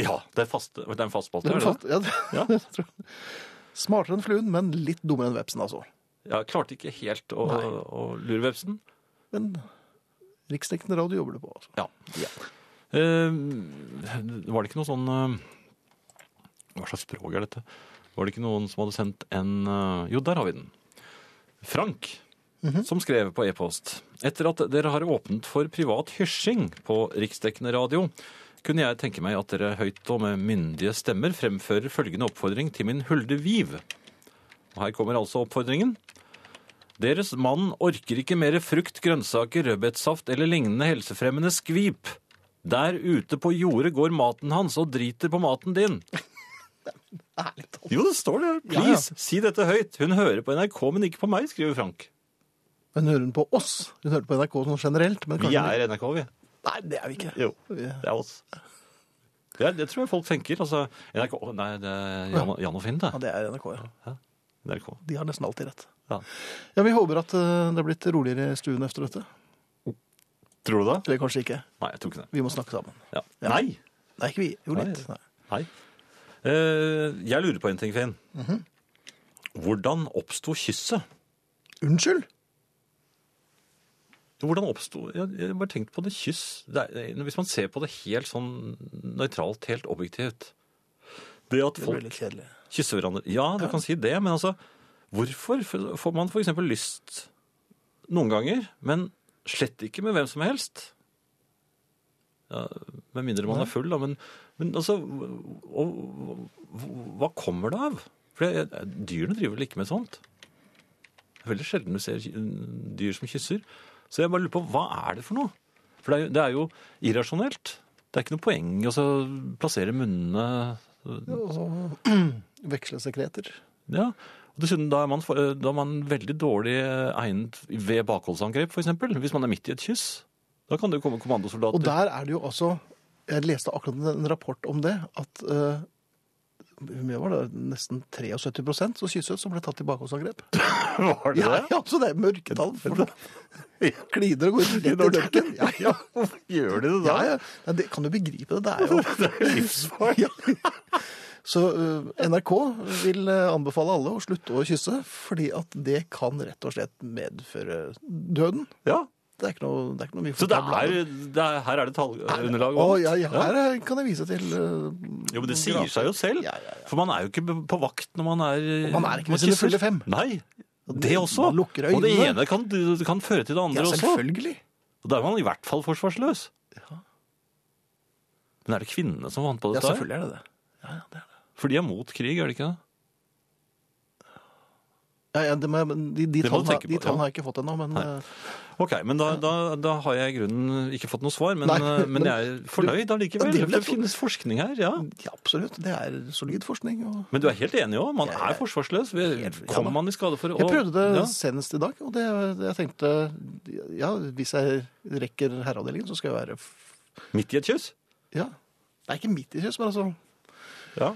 B: Ja, det er, fast, det er en fast spalte.
A: Det var
B: er det
A: fast- Ja, det-
B: Ja.
A: jeg tror- Smartere enn fluen, men litt dummere enn vepsen, altså.
B: det? Jeg klarte ikke helt å,
A: Nei.
B: å lure vepsen.
A: Men riksdekkende radio jobber du på, altså.
B: Ja. Eh, var det ikke noe sånn eh, Hva slags språk er dette? Var det ikke noen som hadde sendt en eh, Jo, der har vi den. Frank,
A: Mhm.
B: som skrev på e-post. Etter at dere har åpnet for privat hyrsing på riksdekkende radio, kunne jeg tenke meg at dere høyt og med myndige stemmer fremfører følgende oppfordring til min Hulde Viv. Og her kommer altså oppfordringen. Deres mann orker ikke mer frukt, grønnsaker, rødbetsaft eller lignende helsefremmende skvip. Der ute på jordet går maten hans og driter på maten din.
A: Ærlig talt.
B: Jo, det står det. Please, si dette høyt. Hun hører på NRK, men ikke på meg, skriver Frank.
A: Men hører hun på oss? Hun hører på NRK sånn generelt? Men
B: Vi
A: kanskje-
B: er NRK, vi.
A: Nei, det er vi ikke.
B: Jo,
A: Vi er-
B: det er oss. Det, er, det tror jeg folk tenker. Altså, NRK Å, Nei, det er Jan, Jan og Finn, det.
A: Ja, det er NRK, ja.
B: NRK.
A: De har nesten alltid rett.
B: Ja.
A: Ja, Vi håper at eh, det har blitt roligere i stuen efter dette.
B: Tror du det?
A: Eller kanskje ikke.
B: Nei, jeg tror ikke det.
A: Vi må snakke sammen.
B: Ja. Nei!
A: Nei, ikke vi. Jo,
B: Nei.
A: litt. Nei.
B: Nei. Eh, jeg lurer på en ting, Finn. Hvordan oppsto kysset?
A: Unnskyld?
B: Hvordan oppsto Jeg jeg har bare tenkt på det kyss det er, Hvis man ser på det helt sånn nøytralt, helt objektivt Det at
A: Det ble
B: folk
A: litt kjedelig.
B: kysser hverandre Ja, du kan si det, men altså Hvorfor f- får man for eksempel lyst noen ganger, men slett ikke med hvem som helst? Ja, med mindre man er full, da. Men, men altså og, hva- Hva kommer det av? For jeg, jeg- dyrene driver vel ikke med sånt? Det er veldig sjelden du ser ky- dyr som kysser. Så jeg bare lurer på, hva er det for noe? For det er jo, det er jo irrasjonelt. Det er ikke noe poeng i å så plassere munnene
A: Og så veksle sekreter.
B: Ja. Og dessuten, da er, man, for- da er man veldig dårlig eh, egnet ved bakholdsangrep, f.eks. Hvis man er midt i et kyss. Da kan det jo komme kommandosoldater.
A: Og der er det jo altså Jeg leste akkurat en rapport om det. At eh, hvor mye var det? nesten 73 så kysset som ble tatt i bakholdsangrep.
B: var
A: Ja, ja, altså det er mørketall. For klider og går rett i dørken. Ja, ja.
B: Hvorfor gjør de det
A: ja, ja. Nei, det kan du begripe det. Det er jo
B: Det er livsfarlig.
A: Ja. Så eh, NRK vil eh, anbefale alle å slutte å kysse, fordi at det kan rett og slett medføre døden.
B: Ja.
A: Det er ikke noe, det er ikke noe mye
B: Så det er, det er, her er det tallunderlag
A: Å,
B: også.
A: ja, ja, her eh, kan jeg vise til eh,
B: Jo, men det sier seg jo selv.
A: Ja, ja, ja.
B: For man er jo ikke på vakt når man er
A: man er ikke
B: man
A: ved sine
B: kysser.
A: fulle fem.
B: Nei.
A: den-
B: Det også.
A: Man lukker
B: Og det
A: øynene.
B: ene kan, kan føre til det andre
A: Ja,
B: også.
A: selvfølgelig.
B: Og da er man i hvert fall forsvarsløs. Men er det kvinnene som vant på
A: Ja,
B: dette? her?
A: selvfølgelig er det det.
B: For de er mot krig, er det ikke det?
A: Ja, ja, det må jeg- men de, de
B: Det må du
A: tallene,
B: tenke
A: de
B: på, ja.
A: tallene har jeg ikke fått ennå, men
B: Nei.
A: eh,
B: Ok, men da, da, da har jeg i grunnen ikke fått noe svar, men,
A: Nei,
B: eh, men
A: men-
B: jeg er fornøyd allikevel.
A: Ja,
B: det,
A: det ble-
B: finnes forskning her, ja.
A: ja, absolutt. Det er solid forskning. Og
B: Men du er helt enig òg, man
A: Jeg-
B: er forsvarsløs.
A: Helt- ja, da.
B: Kommer man i skade for
A: jeg
B: og-
A: prøvde det
B: ja.
A: senest i dag, og det, det jeg tenkte Ja, hvis jeg rekker herreavdelingen, så skal jeg være f-
B: Midt i et kyss?
A: Ja. Det er ikke midt i kyss, men altså
B: Ja.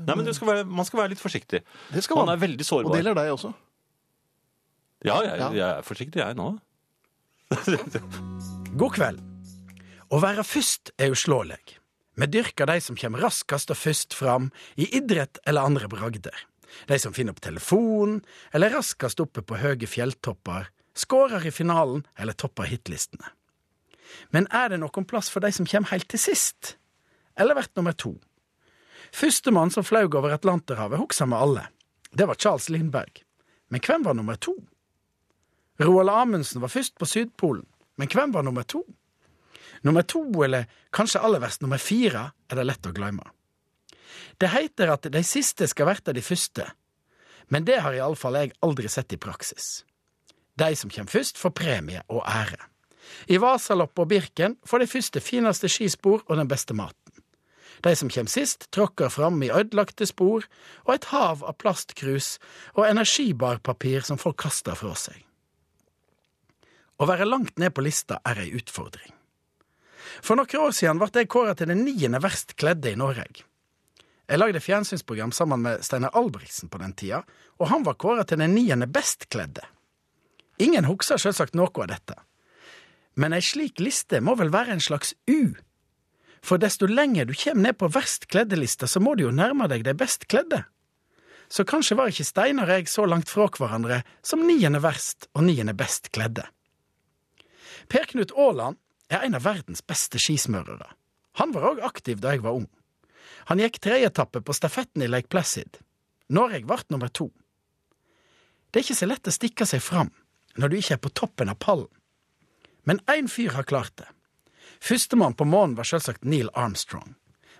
B: Nei, men du skal være, man skal være litt forsiktig.
A: Det skal
B: Man
A: man.
B: er veldig
A: Og det
B: sårbar.
A: gjelder deg også.
B: Ja, jeg,
A: Ja.
B: jeg er forsiktig, jeg nå.
E: God kveld. Å være først er uslåelig. Vi dyrker de som kommer raskest og først fram i idrett eller andre bragder. De som finner opp telefonen, eller er raskest oppe på høye fjelltopper, skårer i finalen eller topper hitlistene. Men er det noen plass for de som kommer helt til sist? Eller vært nummer to? Førstemann som fløy over Atlanterhavet, husker vi alle. Det var Charles Lindberg. Men hvem var nummer to? Roald Amundsen var først på Sydpolen, men hvem var nummer to? Nummer to, eller kanskje aller verst nummer fire, er det lett å glemme. Det heter at de siste skal verte de første, men det har iallfall jeg aldri sett i praksis. De som kommer først, får premie og ære. I Vasaloppet og Birken får de første fineste skispor og den beste maten. De som kommer sist, tråkker fram i ødelagte spor og et hav av plastkrus og energibarpapir som folk kaster fra seg. Å være langt ned på lista er ei utfordring. For noen år siden ble jeg kåra til den niende verst kledde i Norge. Jeg lagde fjernsynsprogram sammen med Steinar Albrigtsen på den tida, og han var kåra til den niende best kledde. Ingen husker selvsagt noe av dette. Men ei slik liste må vel være en slags U? For desto lenger du kommer ned på verst kledde-lista, så må du jo nærme deg de best kledde. Så kanskje var ikke Steinar og jeg så langt fra hverandre som niende verst og niende best kledde. Per Knut Aaland er en av verdens beste skismørere. Han var òg aktiv da jeg var ung. Han gikk tredjeetappe på stafetten i Lake Placid. Norge ble nummer to. Det er ikke så lett å stikke seg fram når du ikke er på toppen av pallen. Men én fyr har klart det. Førstemann på månen var selvsagt Neil Armstrong.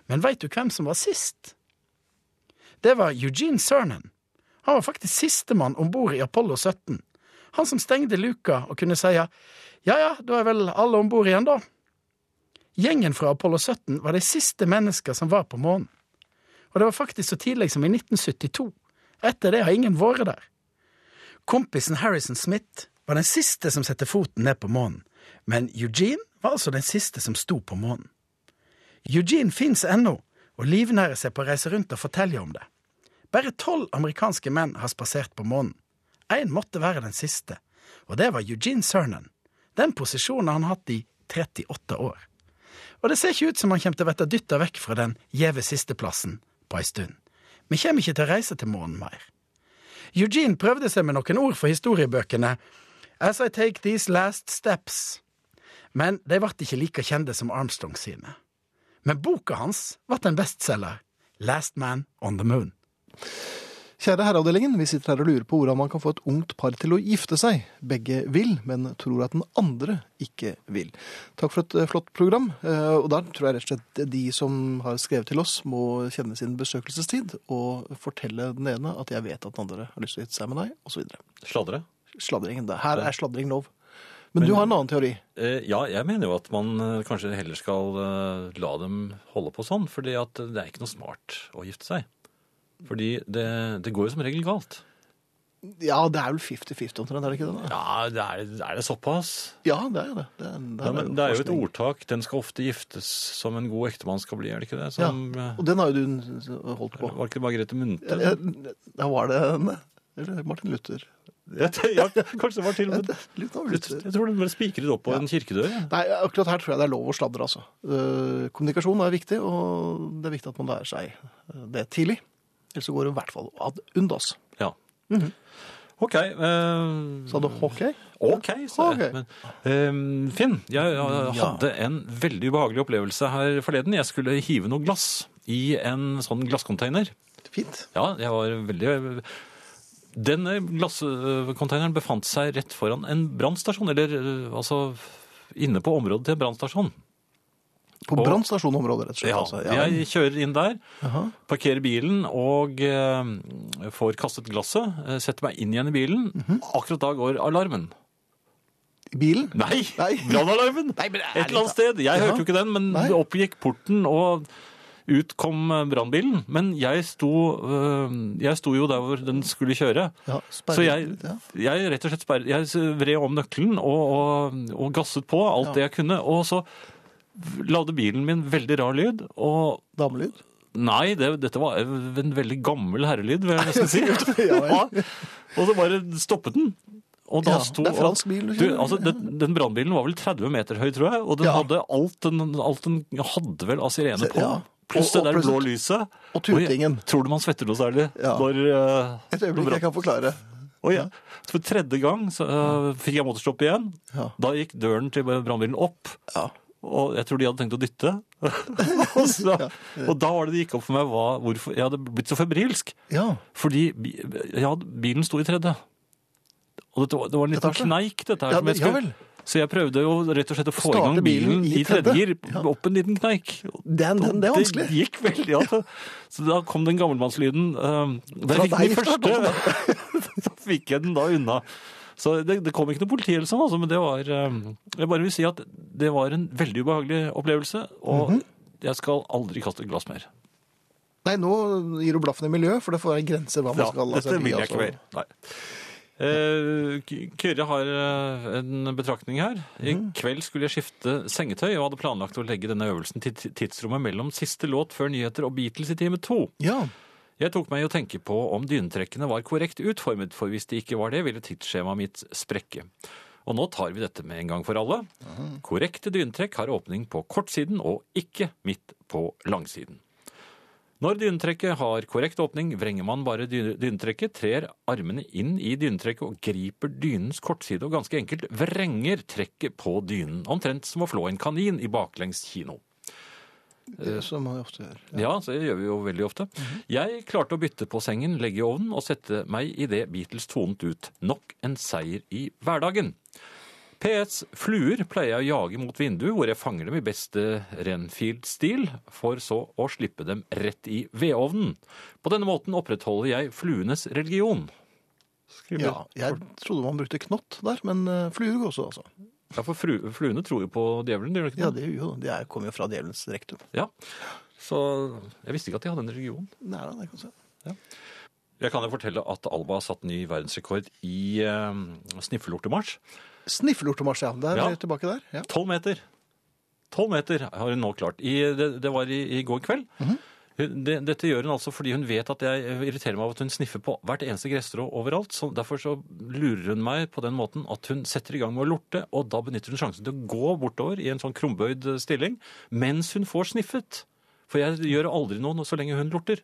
E: Men veit du hvem som var sist? Det var Eugene Cernan. Han var faktisk sistemann om bord i Apollo 17. Han som stengte luka og kunne si ja ja, da er vel alle om bord igjen, da. Gjengen fra Apollo 17 var de siste mennesker som var på månen. Og det var faktisk så tidlig som i 1972. Etter det har ingen vært der. Kompisen Harrison Smith var den siste som satte foten ned på månen, men Eugene var altså den siste som sto på månen. Eugene fins ennå, og livnærer seg på å reise rundt og fortelle om det. Bare tolv amerikanske menn har spasert på månen. Én måtte være den siste, og det var Eugene Cernan. Den posisjonen har han hatt i 38 år. Og det ser ikke ut som han kommer til å bli dytta vekk fra den gjeve sisteplassen på ei stund. Vi kommer ikke til å reise til månen mer. Eugene prøvde seg med noen ord for historiebøkene, As I take these last steps, men de ble ikke like kjente som Armstrong sine. Men boka hans ble en bestselger, Last Man on the Moon.
A: Kjære herreavdelingen, vi sitter her og lurer på hvordan man kan få et ungt par til å gifte seg. Begge vil, men tror at den andre ikke vil. Takk for et eh, flott program. Eh, Og der tror jeg rett og slett de som har skrevet til oss, må kjenne sin besøkelsestid og fortelle den ene at jeg vet at den andre har lyst til å gifte seg med deg, osv.
B: Sladre.
A: Sladringen. det- Her er sladring lov. Men du har en annen teori.
B: Eh, Ja, jeg mener jo at man eh, kanskje heller skal eh, la dem holde på sånn, fordi at det er ikke noe smart å gifte seg. Fordi det, det går jo som regel galt.
A: Ja, det er vel 50-50 omtrent, er det ikke det? da?
B: Ja, det er, er det såpass?
A: Ja, det er jo det. Det er, det
B: Ja, men det er jo et
A: forskning.
B: ordtak. Den skal ofte giftes som en god ektemann skal bli, er det ikke det? Som,
A: Ja,
B: eh,
A: og den har jo du holdt på.
B: Var ikke det Margrethe Munthe?
A: Eh, Da var det henne. Eller Martin Luther.
B: Ja, det- ja, kanskje det var til og med
A: Litt av
B: Jeg
A: Luther.
B: tror den ble spikret opp på en kirkedør. ja.
A: Nei, akkurat her tror jeg det er lov å sladre, altså. Eh, Kommunikasjon er viktig, og det er viktig at man lærer seg eh, det tidlig. Ellers så går det i hvert fall ad undas.
B: Ja. OK. eh,
A: Sa du ok?
B: OK, sa jeg.
A: Sånn. Ok.
B: Men, eh, Finn, jeg eh, hadde en veldig ubehagelig opplevelse her forleden. Jeg skulle hive noe glass i en sånn glasscontainer.
A: Fint.
B: Ja, jeg var veldig Denne glasskonteineren befant seg rett foran en brannstasjon, eller eh, altså inne på området til en brannstasjon.
A: På
B: Og-
A: brannstasjonområdet, rett og slett.
B: Ja,
A: altså.
B: jeg kjører inn der,
A: Jaha.
B: parkerer bilen og eh, får kastet glasset, eh, setter meg inn igjen i bilen.
A: Mhm.
B: Akkurat da går alarmen.
A: I Bilen?
B: Nei!
A: Nei.
B: Brannalarmen!
A: Nei, men
B: Et eller annet sted. Jeg hørte jo ikke den, men
A: Nei.
B: oppgikk porten, og ut kom eh, brannbilen. Men jeg sto, øh, jeg sto jo der hvor den skulle kjøre.
A: Ja, sperret,
B: Så jeg,
A: ja.
B: jeg rett og slett sperret, jeg vred om nøkkelen og, og, og gasset på alt det jeg kunne. Og så lagde bilen min veldig rar lyd, og
A: Damelyd?
B: Nei, det, dette var en veldig gammel herrelyd, vil jeg nesten si.
A: Ja,
B: Ja, og så bare stoppet den. Og da
A: Ja,
B: sto,
A: det er fransk bil, du
B: Du,
A: kjenner.
B: altså, den, den brannbilen var vel 30 meter høy, tror jeg. Og den
A: Ja.
B: hadde alt den, alt den hadde vel av sirene på.
A: Ja. Og-
B: Pluss det
A: og
B: der blå
A: plutselig-
B: lyset.
A: og tutingen.
B: jeg tror du man svetter noe særlig
A: Ja.
B: når eh,
A: Et øyeblikk, jeg kan forklare.
B: og ja, For tredje gang så, eh, fikk jeg motorstopp igjen.
A: Ja.
B: Da gikk døren til brannbilen opp.
A: Ja.
B: Og jeg tror de hadde tenkt å dytte. og, så, og da var det det gikk opp for meg hva, hvorfor jeg hadde blitt så febrilsk.
A: ja.
B: Fordi bi- ja, bilen sto i tredje. Og dette, var- det var en liten
A: Etasje.
B: kneik, dette her.
A: Ja,
B: som jeg
A: ja
B: skulle-
A: vel.
B: Så jeg prøvde jo rett og slett å få i
A: Starte
B: gang bilen,
A: bilen i
B: i tredje gir,
A: tredje. Ja.
B: opp en liten kneik.
A: Det er- det er vanskelig.
B: Det gikk veldig, ja. Så, så da kom den gammelmannslyden. eh, Da
A: Fra
B: jeg fikk den
A: deg,
B: i første, så fikk jeg den da unna. Så det, det kom ikke noe politi eller sånn, altså, men det var eh, Jeg bare vil si at det var en veldig ubehagelig opplevelse, og
A: Mhm.
B: jeg skal aldri kaste et glass mer.
A: Nei, nå gir du blaffen i miljø, for det får være grenser hva man skal la seg
B: dette vil
A: bli,
B: jeg
A: altså.
B: ikke mer. Nei. Eh, K- Kyrre har eh, en betraktning her. I
A: Mhm.
B: kveld skulle jeg skifte sengetøy og hadde planlagt å legge denne øvelsen til ti- tidsrommet mellom siste låt før nyheter og Beatles i time to.
A: Ja.
B: Jeg tok meg i å tenke på om dynetrekkene var korrekt utformet, for hvis de ikke var det, ville tidsskjemaet mitt sprekke. Og nå tar vi dette med en gang for alle. Korrekte dynetrekk har åpning på kortsiden og ikke midt på langsiden. Når dynetrekket har korrekt åpning, vrenger man bare dy- dynetrekket, trer armene inn i dynetrekket og griper dynens kortside og ganske enkelt vrenger trekket på dynen. Omtrent som å flå en kanin i baklengs kino.
A: Det Eh, som man ofte gjør.
B: Ja, så det gjør vi jo veldig ofte.
A: Mhm.
B: Jeg klarte å bytte på sengen, legge i ovnen og sette meg i det Beatles tonet ut. Nok en seier i hverdagen. PS. Fluer pleier jeg å jage mot vinduet, hvor jeg fanger dem i beste Renfield-stil, for så å slippe dem rett i vedovnen. På denne måten opprettholder jeg fluenes religion. Skriver.
A: Ja, jeg trodde man brukte knott der, men eh, fluer går også, altså.
B: Ja, for fru, fluene tror jo på djevelen, gjør de ikke
A: Ja,
B: det?
A: det, gjør jo, det er- kommer jo fra djevelens rektum.
B: Ja. Så jeg visste ikke at de hadde en religion.
A: Nei, nei, det kan du si.
B: Jeg kan jo fortelle at Alba har satt ny verdensrekord i eh, sniffelortemarsj.
A: Sniffelortomarsj, ja. Der
B: Ja.
A: er vi tilbake der. Ja.
B: Tolv meter. Tolv meter har hun nå klart. I, det, det var i, i går kveld. Hun- det, dette gjør hun altså fordi hun vet at jeg irriterer meg av at hun sniffer på hvert eneste gresstrå overalt. Så derfor så lurer hun meg på den måten at hun setter i gang med å lorte, og da benytter hun sjansen til å gå bortover i en sånn krumbøyd stilling mens hun får sniffet. For jeg gjør aldri noe nå så lenge hun lorter.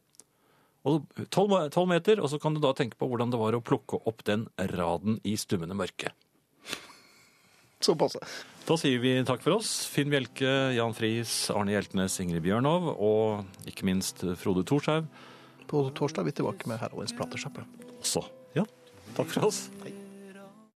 B: Og tolv me- tolv meter, og så kan du da tenke på hvordan det var å plukke opp den raden i stummende mørke.
A: Såpass.
B: Da sier vi takk for oss. Finn Bjelke, Jan Friis, Arne Hjeltnes, Ingrid Bjørnov og ikke minst Frode Thorshaug
A: På torsdag er vi tilbake med heroins platesjappe.
B: også. Ja, takk for oss.
A: Hei.